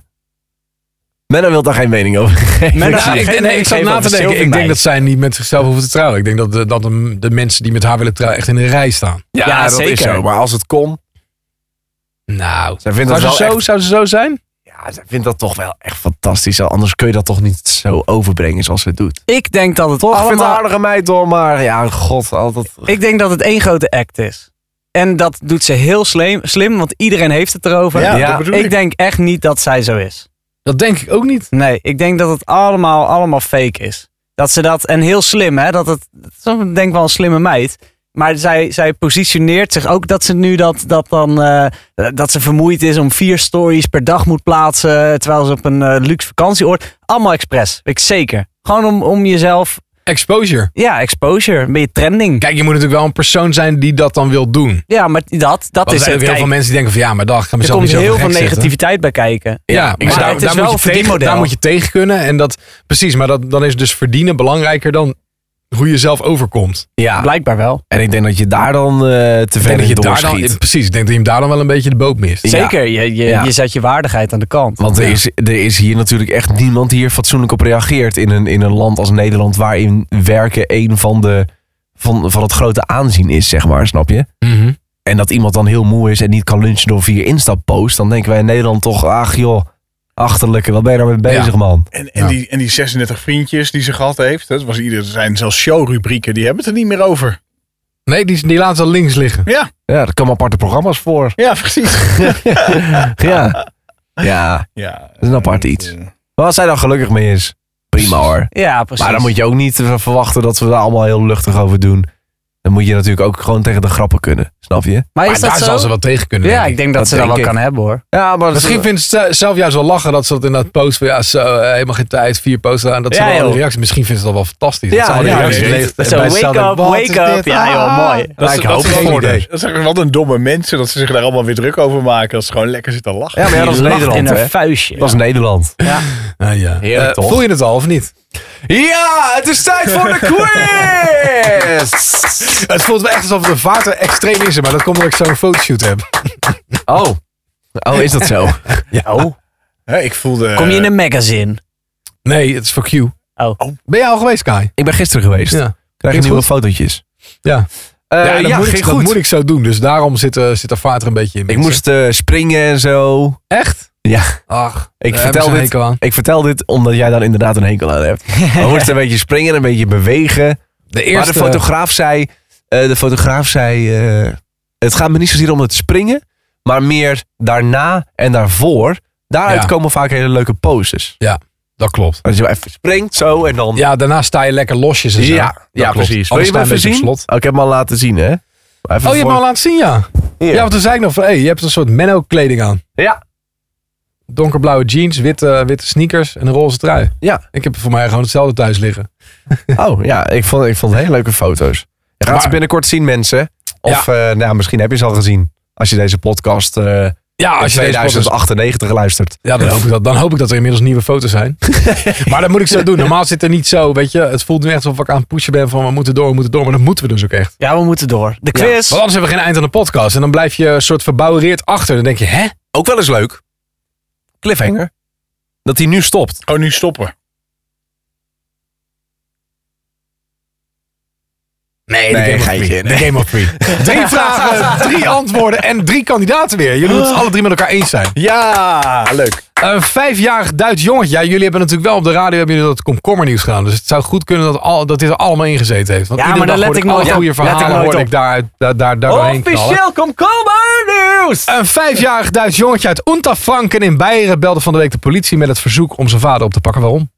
[SPEAKER 2] Menno wil daar geen mening over geven.
[SPEAKER 4] Menno
[SPEAKER 2] Ik zie
[SPEAKER 1] Ja,
[SPEAKER 2] het.
[SPEAKER 4] gaat
[SPEAKER 1] ik, nee,
[SPEAKER 4] geen mening
[SPEAKER 1] ik zat
[SPEAKER 4] geven
[SPEAKER 1] na
[SPEAKER 4] over
[SPEAKER 1] te denken. Ik denk
[SPEAKER 4] Sylvie
[SPEAKER 1] dat
[SPEAKER 4] Meijs.
[SPEAKER 1] zij niet met zichzelf hoeven te trouwen. Ik denk dat, de, dat de, de mensen die met haar willen trouwen echt in een rij staan.
[SPEAKER 2] ja,
[SPEAKER 4] Ja,
[SPEAKER 2] dat is
[SPEAKER 4] zeker.
[SPEAKER 2] zo. Maar als het kon,
[SPEAKER 1] Nou,
[SPEAKER 2] zij vindt
[SPEAKER 1] zou
[SPEAKER 2] dat,
[SPEAKER 1] ze,
[SPEAKER 2] wel
[SPEAKER 1] zo,
[SPEAKER 2] echt,
[SPEAKER 1] zou ze zo zijn?
[SPEAKER 2] ja, zij vindt dat toch wel echt fantastisch. Anders kun je dat toch niet zo overbrengen zoals ze het doet.
[SPEAKER 4] Ik denk dat het
[SPEAKER 2] Oh, Ik vind het een
[SPEAKER 4] allemaal...
[SPEAKER 2] aardige meid hoor, maar ja, god, altijd...
[SPEAKER 4] Ik denk dat het één grote act is. En dat doet ze heel slim, slim want iedereen heeft het erover.
[SPEAKER 3] Ja,
[SPEAKER 2] Ja,
[SPEAKER 3] dat bedoel ik.
[SPEAKER 4] Ik denk echt niet dat zij zo is.
[SPEAKER 1] Dat denk ik ook niet.
[SPEAKER 4] Nee, ik denk dat het allemaal, allemaal fake is. Dat ze dat, en heel slim hè, dat het, dat is ook, denk ik wel een slimme meid. Maar zij, zij positioneert zich ook dat ze nu dat, dat dan, eh, dat ze vermoeid is om vier stories per dag moet plaatsen. Terwijl ze op een eh, luxe vakantieoord, allemaal expres, weet ik zeker. Gewoon om, om jezelf
[SPEAKER 1] Exposure.
[SPEAKER 4] Ja, exposure. Een beetje trending.
[SPEAKER 1] Kijk, je moet natuurlijk wel een persoon zijn die dat dan wil doen.
[SPEAKER 4] Ja, maar dat, dat
[SPEAKER 1] Want er
[SPEAKER 4] is
[SPEAKER 1] zijn
[SPEAKER 4] het.
[SPEAKER 1] ook heel
[SPEAKER 4] Kijk,
[SPEAKER 1] veel mensen die denken van ja, maar dag, ik ga
[SPEAKER 4] er
[SPEAKER 1] mezelf
[SPEAKER 4] komt
[SPEAKER 1] niet zo
[SPEAKER 4] heel
[SPEAKER 1] gek
[SPEAKER 4] veel
[SPEAKER 1] zetten.
[SPEAKER 4] negativiteit bij kijken.
[SPEAKER 1] Ja,
[SPEAKER 2] maar
[SPEAKER 1] maar daar,
[SPEAKER 4] het is
[SPEAKER 1] daar
[SPEAKER 4] wel
[SPEAKER 1] moet je
[SPEAKER 4] een
[SPEAKER 1] tegen,
[SPEAKER 4] verdienmodel.
[SPEAKER 1] daar moet je tegen kunnen. En dat, precies, maar dat, dan is dus verdienen belangrijker dan hoe je zelf overkomt.
[SPEAKER 2] Ja,
[SPEAKER 4] Blijkbaar wel.
[SPEAKER 2] en ik denk dat je daar dan eh te
[SPEAKER 1] Ik
[SPEAKER 2] ver
[SPEAKER 1] denk dat
[SPEAKER 2] in
[SPEAKER 1] je daar dan,
[SPEAKER 2] doorschiet.
[SPEAKER 1] precies, ik denk dat je hem daar dan wel een beetje de boot mist.
[SPEAKER 2] Ja.
[SPEAKER 4] Zeker, je, je,
[SPEAKER 2] Ja.
[SPEAKER 4] je zet je waardigheid aan de kant.
[SPEAKER 2] Want er is, er is hier natuurlijk echt niemand die hier fatsoenlijk op reageert in een, in een land als Nederland waarin werken een van de van, van het grote aanzien is, zeg maar, snap je?
[SPEAKER 1] Mhm.
[SPEAKER 2] En dat iemand dan heel moe is en niet kan lunchen door vier Insta-posts, dan denken wij in Nederland toch, ach joh, achterlijke, wat ben je daarmee bezig, man?
[SPEAKER 3] En, en,
[SPEAKER 1] Ja.
[SPEAKER 3] die, en die 36 vriendjes die ze gehad heeft. Dat was ieder, er zijn zelfs showrubrieken. Die hebben het er niet meer over.
[SPEAKER 1] Nee, die, die laten ze links liggen.
[SPEAKER 3] Ja,
[SPEAKER 2] Ja, daar komen aparte programma's voor.
[SPEAKER 3] ja precies.
[SPEAKER 2] ja. ja,
[SPEAKER 3] ja,
[SPEAKER 2] is een apart
[SPEAKER 3] eh,
[SPEAKER 2] iets. maar als zij dan gelukkig mee is, prima hoor.
[SPEAKER 4] Ja, precies.
[SPEAKER 2] Maar dan moet je ook niet eh, verwachten dat we daar allemaal heel luchtig over doen. Dan moet je natuurlijk ook gewoon tegen de grappen kunnen, snap je?
[SPEAKER 4] Maar
[SPEAKER 1] Maar
[SPEAKER 4] is
[SPEAKER 1] daar
[SPEAKER 4] dat zo?
[SPEAKER 1] zal ze wel tegen kunnen.
[SPEAKER 4] Ja,
[SPEAKER 1] denk ik.
[SPEAKER 4] ik denk dat,
[SPEAKER 2] Dat
[SPEAKER 4] ze dat wel
[SPEAKER 2] denk ik.
[SPEAKER 4] kan hebben hoor.
[SPEAKER 2] Ja, maar
[SPEAKER 1] Misschien vindt ze het zelf juist wel lachen dat ze dat inderdaad post van ja, zo, eh, helemaal geen tijd, vier posten aan. Dat ze
[SPEAKER 4] Ja,
[SPEAKER 1] wel
[SPEAKER 4] joh.
[SPEAKER 1] een reactie. Misschien vinden ze dat wel fantastisch.
[SPEAKER 2] Ja,
[SPEAKER 1] dat ze alle
[SPEAKER 2] ja,
[SPEAKER 1] reacties
[SPEAKER 3] weet
[SPEAKER 1] lezen.
[SPEAKER 4] Zo,
[SPEAKER 1] Bij
[SPEAKER 4] wake
[SPEAKER 1] Saturday,
[SPEAKER 4] up,
[SPEAKER 1] wat
[SPEAKER 4] wake
[SPEAKER 1] is
[SPEAKER 4] up.
[SPEAKER 1] dit?
[SPEAKER 4] Ja, joh,
[SPEAKER 1] Ah.
[SPEAKER 4] mooi.
[SPEAKER 1] Dat,
[SPEAKER 3] Dat,
[SPEAKER 1] ik hoop
[SPEAKER 3] dat,
[SPEAKER 1] geen idee.
[SPEAKER 3] dat zijn wat een domme mensen dat ze zich daar allemaal weer druk over maken. Dat ze gewoon lekker zitten lachen.
[SPEAKER 2] Ja, maar ja, dat is
[SPEAKER 4] Die lacht
[SPEAKER 2] Nederland,
[SPEAKER 4] in
[SPEAKER 2] hè?
[SPEAKER 4] een vuistje.
[SPEAKER 2] Dat is Nederland.
[SPEAKER 1] Ah, ja.
[SPEAKER 2] Heerlijk,
[SPEAKER 1] Eh,
[SPEAKER 2] toch?
[SPEAKER 1] Voel je het al of niet?
[SPEAKER 2] Ja, het is tijd voor de quiz!
[SPEAKER 1] Het voelt wel echt alsof de vaart er extreem is, maar dat komt omdat ik zo'n fotoshoot heb.
[SPEAKER 2] Oh. Oh, is dat zo?
[SPEAKER 3] Hè, ik voelde...
[SPEAKER 4] Kom je in een magazine?
[SPEAKER 1] Nee, het is voor Q.
[SPEAKER 4] Oh.
[SPEAKER 1] Ben jij al geweest, Kai?
[SPEAKER 2] Ik ben gisteren geweest. Krijg je
[SPEAKER 1] Is
[SPEAKER 2] nieuwe
[SPEAKER 1] goed?
[SPEAKER 2] fotootjes?
[SPEAKER 1] Ja.
[SPEAKER 2] Eh,
[SPEAKER 1] ja, dat, moet ik,
[SPEAKER 2] ging
[SPEAKER 1] dat moet ik zo doen. Dus daarom zit, eh, zit de vaart er een beetje in.
[SPEAKER 2] Ik
[SPEAKER 1] mensen.
[SPEAKER 2] moest eh, springen en zo.
[SPEAKER 1] echt.
[SPEAKER 2] Ja.
[SPEAKER 1] Ach,
[SPEAKER 2] Ik
[SPEAKER 1] daar
[SPEAKER 2] vertel
[SPEAKER 1] hebben ze
[SPEAKER 2] dit-
[SPEAKER 1] een hekel aan.
[SPEAKER 2] Ik vertel dit omdat jij daar inderdaad een hekel aan hebt. We moesten een beetje springen, een beetje bewegen.
[SPEAKER 1] De
[SPEAKER 2] Maar de
[SPEAKER 1] eerste
[SPEAKER 2] fotograaf zei... eh, de fotograaf zei... eh, het gaat me niet zozeer om het springen. Maar meer daarna en daarvoor. Daaruit
[SPEAKER 1] Ja.
[SPEAKER 2] komen vaak hele leuke poses.
[SPEAKER 1] Dat klopt.
[SPEAKER 2] Als je wel even springt zo en dan...
[SPEAKER 1] Ja, daarna sta je lekker losjes en zo.
[SPEAKER 2] Ja,
[SPEAKER 1] Dat
[SPEAKER 2] ja,
[SPEAKER 1] klopt.
[SPEAKER 2] precies. Wil
[SPEAKER 1] Alles
[SPEAKER 2] je hem
[SPEAKER 1] staat een
[SPEAKER 2] even
[SPEAKER 1] beetje op
[SPEAKER 2] zien?
[SPEAKER 1] slot.
[SPEAKER 2] Oh, ik heb hem al laten zien, hè? Even
[SPEAKER 1] Oh, je hebt me al
[SPEAKER 2] voor-
[SPEAKER 1] laten zien, ja.
[SPEAKER 2] Hier.
[SPEAKER 1] Ja, want toen zei ik nog van, hé, hey, je hebt een soort Menno-kleding aan.
[SPEAKER 2] Ja.
[SPEAKER 1] Donkerblauwe jeans, witte, eh, witte sneakers en een roze trui.
[SPEAKER 2] Ja.
[SPEAKER 1] Ik heb voor mij gewoon hetzelfde thuis liggen.
[SPEAKER 2] Oh, ja. Ik vond, ik vond hele leuke foto's. Je gaat
[SPEAKER 1] Maar-
[SPEAKER 2] ze binnenkort zien, mensen. Of, eh, nou, misschien heb je ze al gezien. Als je deze podcast eh
[SPEAKER 1] Ja,
[SPEAKER 2] in
[SPEAKER 1] als je deze podcast-
[SPEAKER 2] 2098 luistert.
[SPEAKER 1] ja, dan, hoop ik dat, dan hoop ik dat er inmiddels nieuwe foto's zijn. maar dat moet ik zo doen. Normaal zit er niet zo, weet je. Het voelt nu echt alsof ik aan het pushen ben van we moeten door, we moeten door. Maar dat moeten we dus ook echt.
[SPEAKER 4] Ja, we moeten door. De quiz.
[SPEAKER 1] Want anders hebben we geen eind aan de podcast. En dan blijf je een soort verbouwereerd achter. Dan denk je, hè?
[SPEAKER 2] Ook wel eens leuk. Cliffhanger. Dat hij nu stopt.
[SPEAKER 3] Oh, nu stoppen.
[SPEAKER 1] Nee,
[SPEAKER 2] Nee,
[SPEAKER 1] de Game of
[SPEAKER 2] geitje,
[SPEAKER 1] Free. De Game of Free. Drie vragen, drie antwoorden en drie kandidaten weer. Jullie moeten het alle drie met elkaar eens zijn.
[SPEAKER 3] Ja, Ah, leuk.
[SPEAKER 1] Een vijfjarig Duits jongetje. Ja, jullie hebben natuurlijk wel op de radio hebben jullie dat komkommernieuws gedaan. Dus het zou goed kunnen dat, al, dat dit er allemaal ingezeten heeft. Want
[SPEAKER 4] Ja,
[SPEAKER 1] iedere
[SPEAKER 4] maar daar
[SPEAKER 1] dag
[SPEAKER 4] let
[SPEAKER 1] hoorde
[SPEAKER 4] ik
[SPEAKER 1] alle
[SPEAKER 4] nooit
[SPEAKER 1] goede
[SPEAKER 4] op. Let ik
[SPEAKER 1] verhalen
[SPEAKER 4] nooit
[SPEAKER 1] hoorde
[SPEAKER 4] op.
[SPEAKER 1] ik daar, daar, daar, daar doorheen knallen.
[SPEAKER 4] Officieel komkommer nieuws.
[SPEAKER 1] Een vijfjarig Duits jongetje uit Unterfranken in Beieren belde van de week de politie met het verzoek om zijn vader op te pakken. Waarom?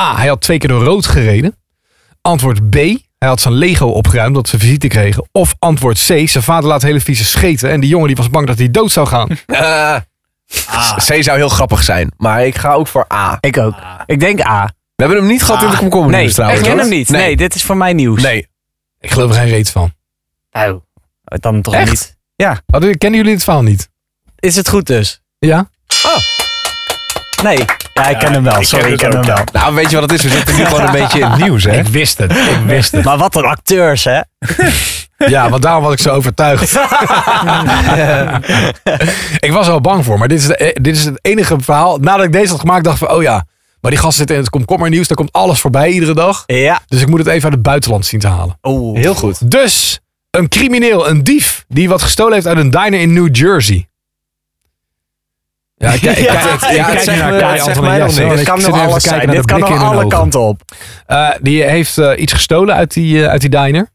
[SPEAKER 1] A. Hij had twee keer door rood gereden. Antwoord B. Hij had zijn Lego opgeruimd omdat ze visite kregen. Of antwoord C. Zijn vader laat hele vieze scheten en die jongen die was bang dat hij dood zou gaan.
[SPEAKER 2] Eh,
[SPEAKER 1] Ah.
[SPEAKER 2] C zou heel grappig zijn. Maar ik ga ook voor A.
[SPEAKER 4] Ik ook. Ik denk A.
[SPEAKER 2] We hebben hem niet
[SPEAKER 1] Ah.
[SPEAKER 2] gehad in de komkommer
[SPEAKER 4] Nee,
[SPEAKER 2] nieuws trouwens.
[SPEAKER 4] ik ken
[SPEAKER 2] hoor.
[SPEAKER 4] hem niet. Nee.
[SPEAKER 2] Nee.
[SPEAKER 4] dit is voor mij nieuws.
[SPEAKER 2] Nee.
[SPEAKER 1] Ik geloof er geen reet van.
[SPEAKER 4] Au. Dan toch
[SPEAKER 1] Echt?
[SPEAKER 4] niet.
[SPEAKER 1] Hadden- Kennen jullie dit verhaal niet?
[SPEAKER 4] Is het goed dus?
[SPEAKER 1] Ja?
[SPEAKER 4] Nee. Ja, ik ken hem wel.
[SPEAKER 3] ik
[SPEAKER 4] Sorry,
[SPEAKER 3] ken
[SPEAKER 4] ik ken hem
[SPEAKER 3] het
[SPEAKER 4] wel.
[SPEAKER 3] ook,
[SPEAKER 2] Nou, weet je wat het is? We zitten nu gewoon een beetje in het nieuws, hè?
[SPEAKER 1] wist het. Ik wist
[SPEAKER 4] Maar wat een acteurs, hè?
[SPEAKER 1] Ja, want daarom was ik zo overtuigd. ik was er al bang voor, maar dit is, de- eh, dit is het enige verhaal. Nadat ik deze had gemaakt, dacht ik van, oh ja, maar die gasten zitten in het komkommernieuws. Daar komt alles voorbij iedere dag.
[SPEAKER 4] Ja.
[SPEAKER 1] Dus ik moet het even uit het buitenland zien te halen.
[SPEAKER 4] Oeh.
[SPEAKER 2] Heel goed.
[SPEAKER 1] Dus, een crimineel, een dief, die wat gestolen heeft uit een diner in New Jersey. Ja, ik, ik,
[SPEAKER 4] Ja,
[SPEAKER 1] kijk-
[SPEAKER 4] het-
[SPEAKER 1] ik
[SPEAKER 4] het
[SPEAKER 1] kijk
[SPEAKER 4] zegt
[SPEAKER 1] nu
[SPEAKER 4] me-
[SPEAKER 1] Kai
[SPEAKER 2] het
[SPEAKER 1] al
[SPEAKER 2] zegt
[SPEAKER 1] van een
[SPEAKER 2] mij nog
[SPEAKER 1] jas,
[SPEAKER 2] niks.
[SPEAKER 1] hoor.
[SPEAKER 4] Dit
[SPEAKER 1] Ik
[SPEAKER 4] kan
[SPEAKER 1] zit
[SPEAKER 4] nog
[SPEAKER 1] even
[SPEAKER 4] alles
[SPEAKER 1] te kijken
[SPEAKER 4] zijn.
[SPEAKER 1] naar
[SPEAKER 4] Dit
[SPEAKER 1] de
[SPEAKER 4] kan nog
[SPEAKER 1] blikken in hun
[SPEAKER 4] alle
[SPEAKER 1] ogen.
[SPEAKER 4] kanten op.
[SPEAKER 1] Eh, die heeft eh, iets gestolen uit die, eh, uit die diner.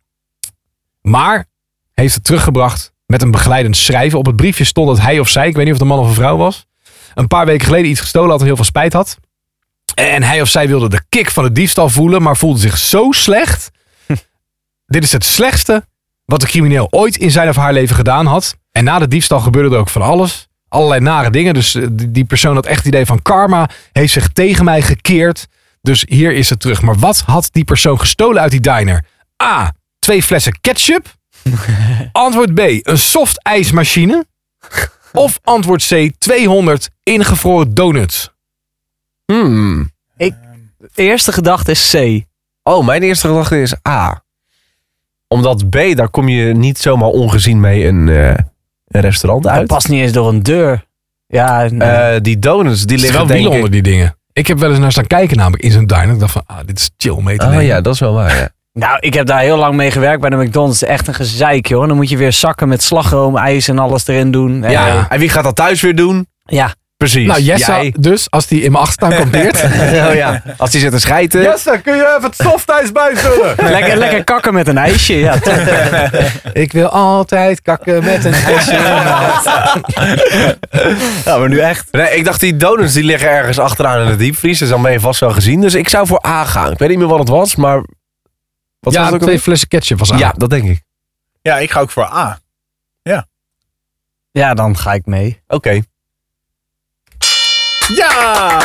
[SPEAKER 1] Maar heeft het teruggebracht met een begeleidend schrijven. Op het briefje stond dat hij of zij, ik weet niet of het een man of een vrouw was, een paar weken geleden iets gestolen had en heel veel spijt had. En hij of zij wilde de kick van de diefstal voelen, maar voelde zich zo slecht. Dit is het slechtste wat de crimineel ooit in zijn of haar leven gedaan had. En na de diefstal gebeurde er ook van alles. Allerlei nare dingen. Dus eh, die, die persoon had echt het idee van karma heeft zich tegen mij gekeerd. Dus hier is het terug. Maar wat had die persoon gestolen uit die diner? A. Twee flessen ketchup. Antwoord B. Een soft ijsmachine. Of antwoord C. 200 ingevroren donuts.
[SPEAKER 2] Hmm.
[SPEAKER 4] De eerste gedachte is C.
[SPEAKER 2] Oh, mijn eerste gedachte is A. Omdat B, daar kom je niet zomaar ongezien mee een, eh, een restaurant
[SPEAKER 4] Hij
[SPEAKER 2] uit.
[SPEAKER 4] past niet eens door een deur. Ja, nee.
[SPEAKER 2] Eh, die donuts, die
[SPEAKER 1] Er liggen
[SPEAKER 2] liggen
[SPEAKER 1] wel
[SPEAKER 2] denk
[SPEAKER 1] wielen
[SPEAKER 2] ik...
[SPEAKER 1] onder die dingen. Ik heb wel eens naar staan kijken namelijk in zo'n diner. Ik dacht van, ah, dit is chill om mee te
[SPEAKER 2] Oh
[SPEAKER 1] nemen.
[SPEAKER 2] ja, dat is wel waar. Ja.
[SPEAKER 4] Nou, ik heb daar heel lang mee gewerkt bij de McDonald's. Echt een gezeik, joh. Dan moet je weer zakken met slagroom, ijs en alles erin doen. En,
[SPEAKER 1] Ja.
[SPEAKER 4] eh,
[SPEAKER 2] En wie gaat dat thuis weer doen?
[SPEAKER 4] ja.
[SPEAKER 2] Precies.
[SPEAKER 1] Nou, Jessa
[SPEAKER 2] Jij.
[SPEAKER 1] dus, als die in mijn achtertuin kampeert.
[SPEAKER 2] Oh ja. Als die zit te schijten.
[SPEAKER 1] Jessa, kun je even het softijs bijvullen?
[SPEAKER 4] Lekker, lekker kakken met een ijsje. Ja, toch.
[SPEAKER 1] ik wil altijd kakken met een
[SPEAKER 2] Ja, maar nu echt. Nee, ik dacht die donuts die liggen ergens achteraan in de diepvries. Dus dan ben je vast wel gezien. Dus ik zou voor A gaan. Ik weet niet meer wat het was, maar... Wat
[SPEAKER 1] ja,
[SPEAKER 2] was het ook
[SPEAKER 1] twee
[SPEAKER 2] alweer?
[SPEAKER 1] flessen ketchup was aan.
[SPEAKER 2] Ja, dat denk ik.
[SPEAKER 3] Ja, ik ga ook voor A.
[SPEAKER 4] ja, dan ga ik mee.
[SPEAKER 2] Oké.
[SPEAKER 3] Ja!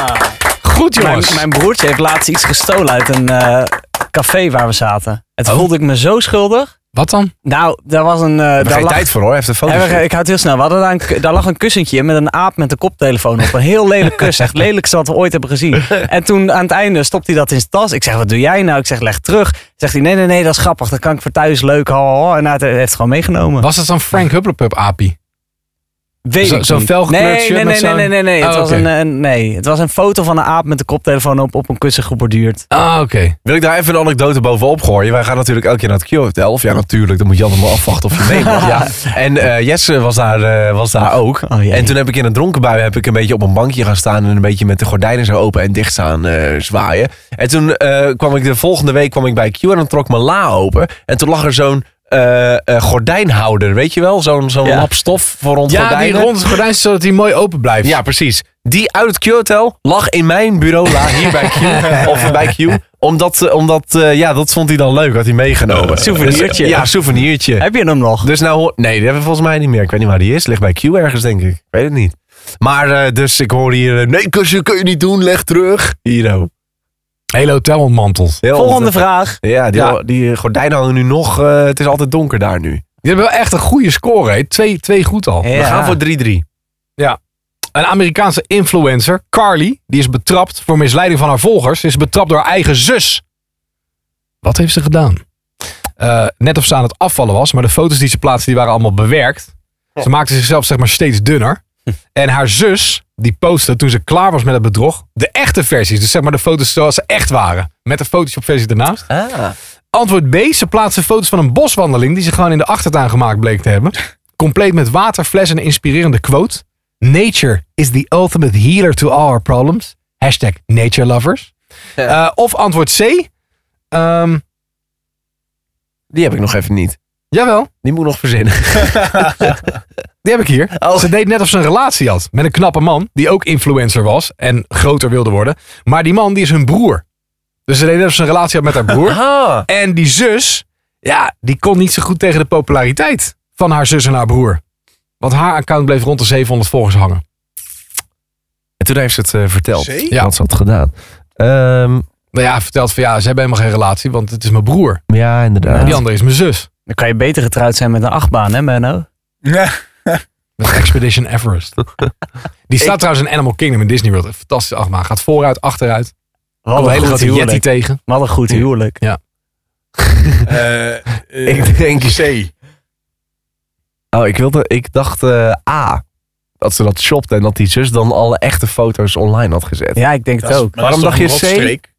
[SPEAKER 1] Goed
[SPEAKER 4] Mijn,
[SPEAKER 1] jongens.
[SPEAKER 4] mijn broertje heeft laatst iets gestolen uit een eh, café waar we zaten.
[SPEAKER 2] Oh.
[SPEAKER 4] Het voelde ik me zo schuldig.
[SPEAKER 1] Wat dan?
[SPEAKER 4] Nou, daar was een... eh,
[SPEAKER 2] Daar
[SPEAKER 4] daar
[SPEAKER 2] geen
[SPEAKER 4] lag-
[SPEAKER 2] tijd voor hoor. Hij heeft een foto.
[SPEAKER 4] Ja, maar ik houd heel snel. We hadden daar, een- daar lag een kussentje in met een aap met een koptelefoon op. Een heel lelijk kussen. Echt het lelijkste wat we ooit hebben gezien. En toen aan het einde stopt hij dat in zijn tas. Ik zeg, wat doe jij nou? Ik zeg, leg terug. Zegt hij, nee, nee, nee, dat is grappig. Dat kan ik voor thuis leuk. ho, ho, ho. En hij heeft het gewoon meegenomen.
[SPEAKER 1] Was het dan Frank Hupplepup api?
[SPEAKER 4] Weet
[SPEAKER 1] Zo-
[SPEAKER 4] ik
[SPEAKER 1] zo'n
[SPEAKER 4] niet.
[SPEAKER 1] felgekleurd
[SPEAKER 4] nee,
[SPEAKER 1] shirt
[SPEAKER 4] nee,
[SPEAKER 1] met
[SPEAKER 4] nee, nee,
[SPEAKER 1] zo'n-
[SPEAKER 4] nee, nee, nee.
[SPEAKER 1] Oh,
[SPEAKER 4] het was
[SPEAKER 1] oké.
[SPEAKER 4] een, een- nee. Het was een foto van een aap met een koptelefoon op, op een kussen geborduurd.
[SPEAKER 1] Ah, oké.
[SPEAKER 2] Wil ik daar even een anekdote bovenop gooien? Wij gaan natuurlijk elke keer naar het Q-hotel. Of ja, natuurlijk. Dan moet Jan allemaal afwachten of je mee mag. Ja. En eh, Jesse was daar, eh, was daar ook.
[SPEAKER 4] Oh, jee.
[SPEAKER 2] En toen heb ik in een dronken bui heb ik een beetje op een bankje gaan staan. En een beetje met de gordijnen zo open en dicht staan eh, zwaaien. En toen eh, kwam ik de volgende week kwam ik bij Q en dan trok mijn la open. En toen lag er zo'n eh, eh, gordijnhouder, weet je wel? Zo'n zo'n
[SPEAKER 4] Ja.
[SPEAKER 2] lap stof voor rond
[SPEAKER 1] Ja, die
[SPEAKER 2] gordijnen.
[SPEAKER 1] rond het gordijn zodat hij mooi open blijft.
[SPEAKER 2] Ja, precies. Die uit het Q-hotel lag in mijn bureau la hier bij Q. of bij Q. Omdat, eh, omdat eh, ja, dat vond hij dan leuk, had hij meegenomen.
[SPEAKER 4] Souvenirtje.
[SPEAKER 2] Dus, eh, ja, souvenirtje.
[SPEAKER 4] Heb je hem nog?
[SPEAKER 2] Dus nou, hoor- nee, die hebben we volgens mij niet meer. Ik weet niet waar die is. Ligt bij Q ergens, denk ik. Ik weet het niet. Maar eh, dus ik hoor hier, eh, nee kusje kun je niet doen, leg terug. Hier ook.
[SPEAKER 1] Hele hotel ontmanteld.
[SPEAKER 2] Heel
[SPEAKER 4] Volgende vraag.
[SPEAKER 2] Ja, die,
[SPEAKER 1] Ja.
[SPEAKER 2] die gordijnen hangen nu nog, eh, het is altijd donker daar nu.
[SPEAKER 1] Die hebben wel echt een goede score, hè. Twee, twee goed al.
[SPEAKER 2] We
[SPEAKER 4] Ja.
[SPEAKER 2] gaan voor 3-3.
[SPEAKER 1] Een Amerikaanse influencer, Carly, die is betrapt voor misleiding van haar volgers. Ze is betrapt door haar eigen zus. Wat heeft ze gedaan? Eh, net of ze aan het afvallen was, maar de foto's die ze plaatste, die waren allemaal bewerkt. Ze maakte zichzelf zeg maar steeds dunner. En haar zus, die postte toen ze klaar was met het bedrog, de echte versies. Dus zeg maar de foto's zoals ze echt waren. Met de Photoshop versie ernaast. Antwoord B. Ze plaatsen foto's van een boswandeling die ze gewoon in de achtertuin gemaakt bleek te hebben. Compleet met waterfles en een inspirerende quote. Nature is the ultimate healer to all our problems. Hashtag nature lovers. Eh, of antwoord C. Ehm,
[SPEAKER 2] Die heb ik nog even niet.
[SPEAKER 1] jawel,
[SPEAKER 2] Die moet ik nog verzinnen.
[SPEAKER 1] die heb ik hier.
[SPEAKER 2] Oh.
[SPEAKER 1] Ze deed net of ze een relatie had met een knappe man die ook influencer was en groter wilde worden. Maar die man die is hun broer. Dus ze deed net of ze een relatie had met haar broer.
[SPEAKER 2] Ah.
[SPEAKER 1] En die zus, ja, die kon niet zo goed tegen de populariteit van haar zus en haar broer. Want haar account bleef rond de 700 volgers hangen.
[SPEAKER 2] En toen heeft ze het eh, verteld.
[SPEAKER 3] Zee?
[SPEAKER 2] Ja. Wat ze had gedaan. Ehm,
[SPEAKER 1] Nou ja, vertelt van ja, ze hebben helemaal geen relatie, want het is mijn broer.
[SPEAKER 2] ja, inderdaad.
[SPEAKER 1] En die andere is mijn zus.
[SPEAKER 4] Dan kan je beter getrouwd zijn met een achtbaan, hè Menno?
[SPEAKER 3] Eh,
[SPEAKER 1] Met Expedition Everest. Die staat trouwens in Animal Kingdom in Disney World. Fantastisch achtbaan. Gaat vooruit, achteruit.
[SPEAKER 4] Wat
[SPEAKER 1] Komt een
[SPEAKER 4] een
[SPEAKER 1] hele
[SPEAKER 4] goed
[SPEAKER 1] grote yeti
[SPEAKER 4] huwelijk.
[SPEAKER 1] tegen.
[SPEAKER 4] Wat een goed huwelijk.
[SPEAKER 3] Eh, eh,
[SPEAKER 2] Ik denk...
[SPEAKER 3] C.
[SPEAKER 2] Oh, ik, wilde, ik dacht eh, A. Dat ze dat shopte en dat die zus dan alle echte foto's online had gezet. Ja,
[SPEAKER 4] Ja, ik denk
[SPEAKER 3] Dat
[SPEAKER 4] het
[SPEAKER 3] is-
[SPEAKER 4] ook.
[SPEAKER 3] maar dat is
[SPEAKER 2] Waarom dacht
[SPEAKER 3] toch
[SPEAKER 2] je
[SPEAKER 3] een
[SPEAKER 2] C?
[SPEAKER 3] rotstreek?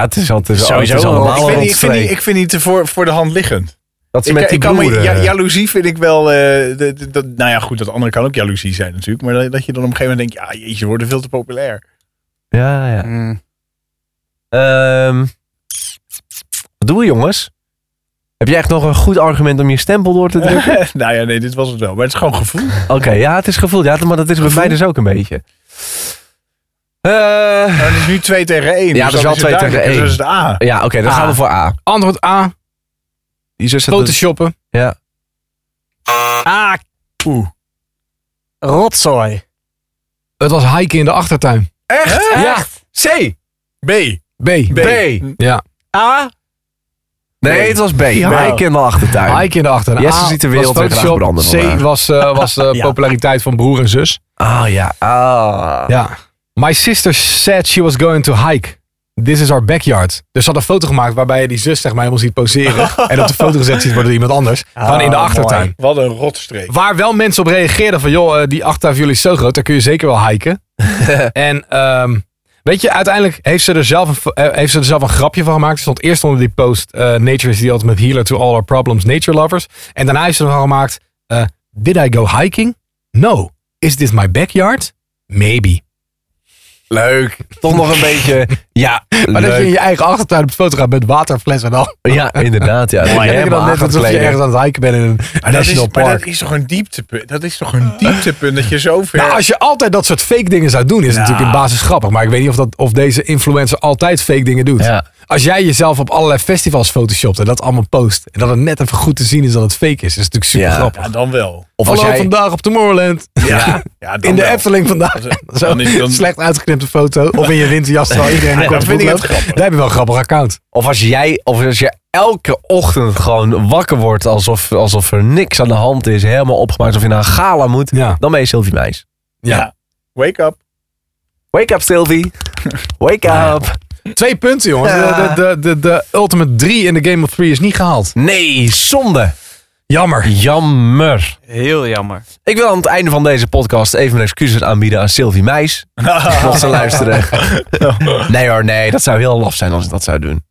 [SPEAKER 2] het is, al- het is, al-
[SPEAKER 4] Sowieso
[SPEAKER 2] het is
[SPEAKER 4] wel.
[SPEAKER 2] allemaal een
[SPEAKER 3] Ik
[SPEAKER 4] Ik
[SPEAKER 3] vind, die- ik vind, die,
[SPEAKER 2] rotstreek.
[SPEAKER 3] ik vind die te voor, voor de hand liggend.
[SPEAKER 2] Dat ze
[SPEAKER 3] Ik,
[SPEAKER 2] met die
[SPEAKER 3] ik kan me,
[SPEAKER 2] broer...
[SPEAKER 3] ja,
[SPEAKER 2] eh,
[SPEAKER 3] jaloezie vind ik wel... eh, de- de- dat, nou ja, goed, dat andere kan ook jaloezie zijn natuurlijk. Maar dat, dat je dan op een gegeven moment denkt... Ja, jeetje, we worden veel te populair.
[SPEAKER 2] ja, ja.
[SPEAKER 4] Mm.
[SPEAKER 2] Ehm, wat doen we, jongens? Heb jij echt nog een goed argument om je stempel door te drukken?
[SPEAKER 3] nou ja, nee, dit was het wel. Maar het is gewoon gevoel.
[SPEAKER 2] Oké, ja, het is gevoeld. Ja, maar dat is bij mij dus ook een beetje. Eh,
[SPEAKER 3] Maar Nou, het is nu 2 tegen dus 1.
[SPEAKER 2] Ja, dat is wel twee tegen één.
[SPEAKER 3] Dus dan het A.
[SPEAKER 2] ja, oké, dan
[SPEAKER 1] A.
[SPEAKER 2] gaan we voor A.
[SPEAKER 1] Antwoord A.
[SPEAKER 2] Die zus had het-
[SPEAKER 1] Photoshoppen.
[SPEAKER 2] Ja.
[SPEAKER 4] Ah,
[SPEAKER 3] Oeh.
[SPEAKER 4] rotzooi.
[SPEAKER 1] Het was hiken in de achtertuin.
[SPEAKER 3] Echt?
[SPEAKER 1] Ja.
[SPEAKER 2] C.
[SPEAKER 3] B.
[SPEAKER 1] B.
[SPEAKER 2] B.
[SPEAKER 1] Ja.
[SPEAKER 4] A.
[SPEAKER 2] Nee, het was B. Maar ik ken wel achtertuin.
[SPEAKER 1] Mike in de achter.
[SPEAKER 2] Jesse
[SPEAKER 1] A
[SPEAKER 2] ziet de
[SPEAKER 1] was
[SPEAKER 2] wereld weer
[SPEAKER 1] Photoshop.
[SPEAKER 2] graag branden vandaag.
[SPEAKER 1] C was, eh, was eh,
[SPEAKER 4] Ja.
[SPEAKER 1] populariteit van broer en zus.
[SPEAKER 2] Ah ja. Ah.
[SPEAKER 1] Ja. My sister said she was going to hike. This is our backyard. Dus ze had een foto gemaakt waarbij je die zus zeg maar helemaal ziet poseren. en op de foto gezet ziet worden door iemand anders.
[SPEAKER 2] Ah,
[SPEAKER 1] van in de achtertuin.
[SPEAKER 3] Wat een rotstreek.
[SPEAKER 1] Waar wel mensen op reageerden van, joh, eh, die achtertuin van jullie is zo groot, daar kun je zeker wel hiken. en ehm, weet je, uiteindelijk heeft ze, er zelf een, fo- eh, heeft ze er zelf een grapje van gemaakt. Ze stond eerst onder die post, eh, Nature is the ultimate healer to all our problems, nature lovers. En daarna heeft ze ervan gemaakt, eh, did I go hiking? No. Is this my backyard? Maybe.
[SPEAKER 2] Leuk. Toch nog een beetje. Ja.
[SPEAKER 1] Maar dat je in
[SPEAKER 2] leuk.
[SPEAKER 1] je eigen achtertuin op de foto gaat met waterfles en al.
[SPEAKER 2] Ja, inderdaad. Ja.
[SPEAKER 1] Dan
[SPEAKER 2] Mooi,
[SPEAKER 1] denk je dan net alsof je ergens aan het hiken bent in een
[SPEAKER 3] Dat is,
[SPEAKER 1] national
[SPEAKER 3] maar
[SPEAKER 1] park.
[SPEAKER 3] dat is toch een dieptepunt? Dat is toch een dieptepunt dat je zo ver...
[SPEAKER 1] Nou, als je altijd dat soort fake dingen zou doen, is het natuurlijk in basis grappig. Maar ik weet niet of, dat, of deze influencer altijd fake dingen doet.
[SPEAKER 2] Ja.
[SPEAKER 1] Als jij jezelf op allerlei festivals photoshopt en dat allemaal post. En dat het net even goed te zien is dat het fake is. is natuurlijk super
[SPEAKER 2] Ja.
[SPEAKER 1] grappig.
[SPEAKER 3] ja, dan wel.
[SPEAKER 2] Of als
[SPEAKER 1] Hallo
[SPEAKER 2] jij,
[SPEAKER 1] vandaag op Tomorrowland.
[SPEAKER 3] Ja, ja dan
[SPEAKER 1] in de
[SPEAKER 3] wel.
[SPEAKER 1] Efteling vandaag.
[SPEAKER 3] Dan
[SPEAKER 1] Zo'n
[SPEAKER 3] is- dan-
[SPEAKER 1] slecht uitgeknipte foto. Of in je winterjas terwijl iedereen een
[SPEAKER 3] Ja,
[SPEAKER 1] korte
[SPEAKER 3] dat vind
[SPEAKER 1] broek
[SPEAKER 3] ik het
[SPEAKER 1] loopt.
[SPEAKER 3] grappig.
[SPEAKER 1] Daar heb je wel een grappig account.
[SPEAKER 2] of als jij, of als je elke ochtend gewoon wakker wordt alsof, alsof er niks aan de hand is, helemaal opgemaakt, alsof je naar een gala moet,
[SPEAKER 1] Ja.
[SPEAKER 2] dan ben je Sylvie Meis.
[SPEAKER 1] Ja.
[SPEAKER 3] Ja. Wake up.
[SPEAKER 2] Wake up, Sylvie. Wake up.
[SPEAKER 1] Twee punten, jongens.
[SPEAKER 2] Ja.
[SPEAKER 1] De, de, de, de Ultimate 3 in de Game of 3 is niet gehaald.
[SPEAKER 2] Nee, zonde.
[SPEAKER 1] Jammer.
[SPEAKER 2] Jammer.
[SPEAKER 4] Heel jammer.
[SPEAKER 2] Ik wil aan het einde van deze podcast even mijn excuses aanbieden aan Sylvie Meis. Mocht ze luisteren. Nee hoor, nee. Dat zou heel laf zijn als ik dat zou doen.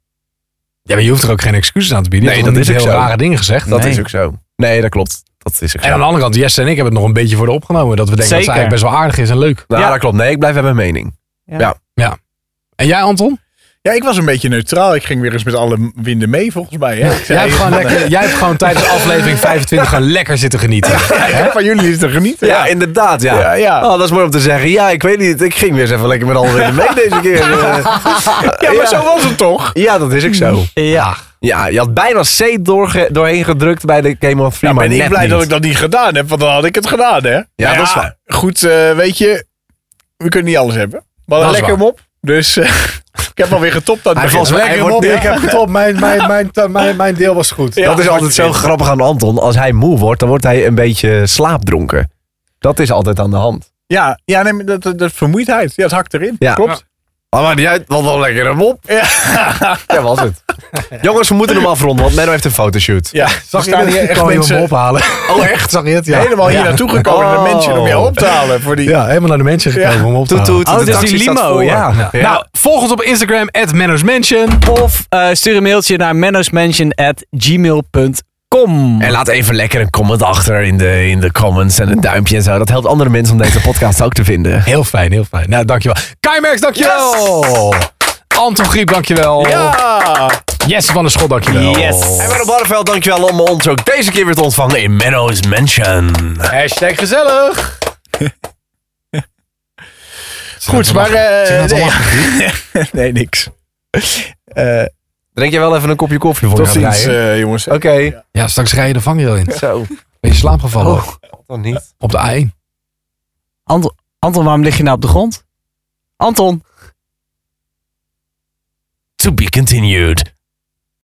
[SPEAKER 1] Ja, maar je hoeft er ook geen excuses aan te bieden. Je
[SPEAKER 2] Nee,
[SPEAKER 1] hebt
[SPEAKER 2] dat
[SPEAKER 1] toch niet
[SPEAKER 2] is ook
[SPEAKER 1] heel
[SPEAKER 2] zo.
[SPEAKER 1] rare dingen gezegd.
[SPEAKER 2] Dat
[SPEAKER 4] Nee.
[SPEAKER 2] is ook zo. Nee, dat klopt. Dat is ook zo.
[SPEAKER 1] En aan de andere kant, Jesse en ik hebben het nog een beetje voor de opgenomen. Dat we denken dat
[SPEAKER 4] Zeker.
[SPEAKER 1] ze eigenlijk best wel aardig is en leuk.
[SPEAKER 2] Nou,
[SPEAKER 4] Ja.
[SPEAKER 2] dat klopt. Nee, ik blijf bij mijn mening.
[SPEAKER 1] En jij, Anton?
[SPEAKER 3] Ja, ik was een beetje neutraal. Ik ging weer eens met alle winden mee, volgens mij. Hè? Ik zei,
[SPEAKER 1] Jij hebt, gewoon
[SPEAKER 3] van,
[SPEAKER 1] lekker, jij hebt gewoon tijdens aflevering 25 gewoon lekker zitten genieten.
[SPEAKER 3] eh, ik heb van jullie is te genieten.
[SPEAKER 2] Ja, inderdaad. Ja.
[SPEAKER 3] Ja, ja.
[SPEAKER 2] Oh, dat is mooi om te zeggen. Ja, ik weet niet. Ik ging weer eens even lekker met alle winden mee deze keer. Eh,
[SPEAKER 3] Ja, maar
[SPEAKER 2] Ja.
[SPEAKER 3] zo was het toch?
[SPEAKER 2] ja, dat is ook zo.
[SPEAKER 4] Ja.
[SPEAKER 2] Ja, je had bijna C doorge- doorheen gedrukt bij de Game of Free.
[SPEAKER 3] Ja,
[SPEAKER 2] maar
[SPEAKER 3] ben ik
[SPEAKER 2] net
[SPEAKER 3] blij
[SPEAKER 2] niet.
[SPEAKER 3] dat ik dat niet gedaan heb, want dan had ik het gedaan, hè? Ja,
[SPEAKER 2] dat is waar.
[SPEAKER 3] Goed, eh, weet je, we kunnen niet alles hebben. We hadden
[SPEAKER 1] is
[SPEAKER 3] lekker
[SPEAKER 1] waar.
[SPEAKER 3] hem op, dus eh, ik heb alweer getopt aan
[SPEAKER 2] Hij
[SPEAKER 3] het begin.
[SPEAKER 2] valt lekker
[SPEAKER 3] Hij
[SPEAKER 2] hem op,
[SPEAKER 3] wordt-
[SPEAKER 2] ik heb
[SPEAKER 1] het op. Mijn, mijn, mijn, mijn, mijn deel was goed.
[SPEAKER 3] Ja,
[SPEAKER 2] dat is altijd zo
[SPEAKER 3] hartstikke.
[SPEAKER 2] grappig aan Anton. Als hij moe wordt, dan wordt hij een beetje slaapdronken. Dat is altijd aan de hand.
[SPEAKER 3] Ja, ja nee, maar dat, dat, dat vermoeidheid, ja, het hakt erin.
[SPEAKER 2] Ja.
[SPEAKER 3] Klopt.
[SPEAKER 2] Maar maakt niet uit, want wel lekker hem op.
[SPEAKER 3] Ja.
[SPEAKER 2] Ja, was het. Jongens, we moeten hem afronden, want Menno heeft een fotoshoot.
[SPEAKER 3] Ja,
[SPEAKER 1] Zag
[SPEAKER 3] er
[SPEAKER 1] je
[SPEAKER 3] staan
[SPEAKER 1] dat?
[SPEAKER 3] hier
[SPEAKER 1] Ik
[SPEAKER 3] echt
[SPEAKER 1] kwam mensen...
[SPEAKER 3] mensen
[SPEAKER 1] hem ophalen. Oh echt? Zag je het? Ja.
[SPEAKER 3] helemaal hier naartoe gekomen
[SPEAKER 2] Oh.
[SPEAKER 3] de mensen om jou op te halen. Voor die...
[SPEAKER 1] Ja, helemaal naar de mensen gekomen
[SPEAKER 3] Ja.
[SPEAKER 1] om op te
[SPEAKER 2] Toet,
[SPEAKER 1] halen.
[SPEAKER 2] toet,
[SPEAKER 4] Oh,
[SPEAKER 2] de
[SPEAKER 4] dus
[SPEAKER 2] taxi
[SPEAKER 4] die
[SPEAKER 2] staat
[SPEAKER 4] limo,
[SPEAKER 2] voor.
[SPEAKER 4] ja.
[SPEAKER 2] Ja.
[SPEAKER 1] Nou, volg ons op Instagram, at Mansion.
[SPEAKER 4] Of eh, stuur een mailtje naar mennosmansion@gmail.com.
[SPEAKER 2] En laat even lekker een comment achter in de, in de comments en een duimpje en zo. Dat helpt andere mensen om deze podcast ook te vinden.
[SPEAKER 1] Heel fijn, heel fijn. Nou, dankjewel. Kai Merks, dankjewel. Anton Griep, dankjewel.
[SPEAKER 3] Ja.
[SPEAKER 1] Jesse van der Schot, dankjewel.
[SPEAKER 4] Yes.
[SPEAKER 2] En Menno Barreveld, dankjewel om ons ook deze keer weer te ontvangen in Menno's Mansion.
[SPEAKER 1] Hashtag gezellig.
[SPEAKER 3] Goed, maar... eh,
[SPEAKER 1] Zijn dat
[SPEAKER 3] nee.
[SPEAKER 1] allemaal
[SPEAKER 3] nee, niks. Eh,
[SPEAKER 2] Drink jij wel even een kopje koffie voor
[SPEAKER 3] tot
[SPEAKER 2] je gaat
[SPEAKER 3] ziens,
[SPEAKER 2] rijden?
[SPEAKER 3] eh, jongens.
[SPEAKER 2] Oké.
[SPEAKER 1] Ja, straks rij je de vangrail in.
[SPEAKER 2] Zo.
[SPEAKER 1] Ben je slaapgevallen
[SPEAKER 2] Oh, dan niet.
[SPEAKER 1] op de A1.
[SPEAKER 4] Anton, Anton, waarom lig je nou op de grond? Anton.
[SPEAKER 2] To be continued.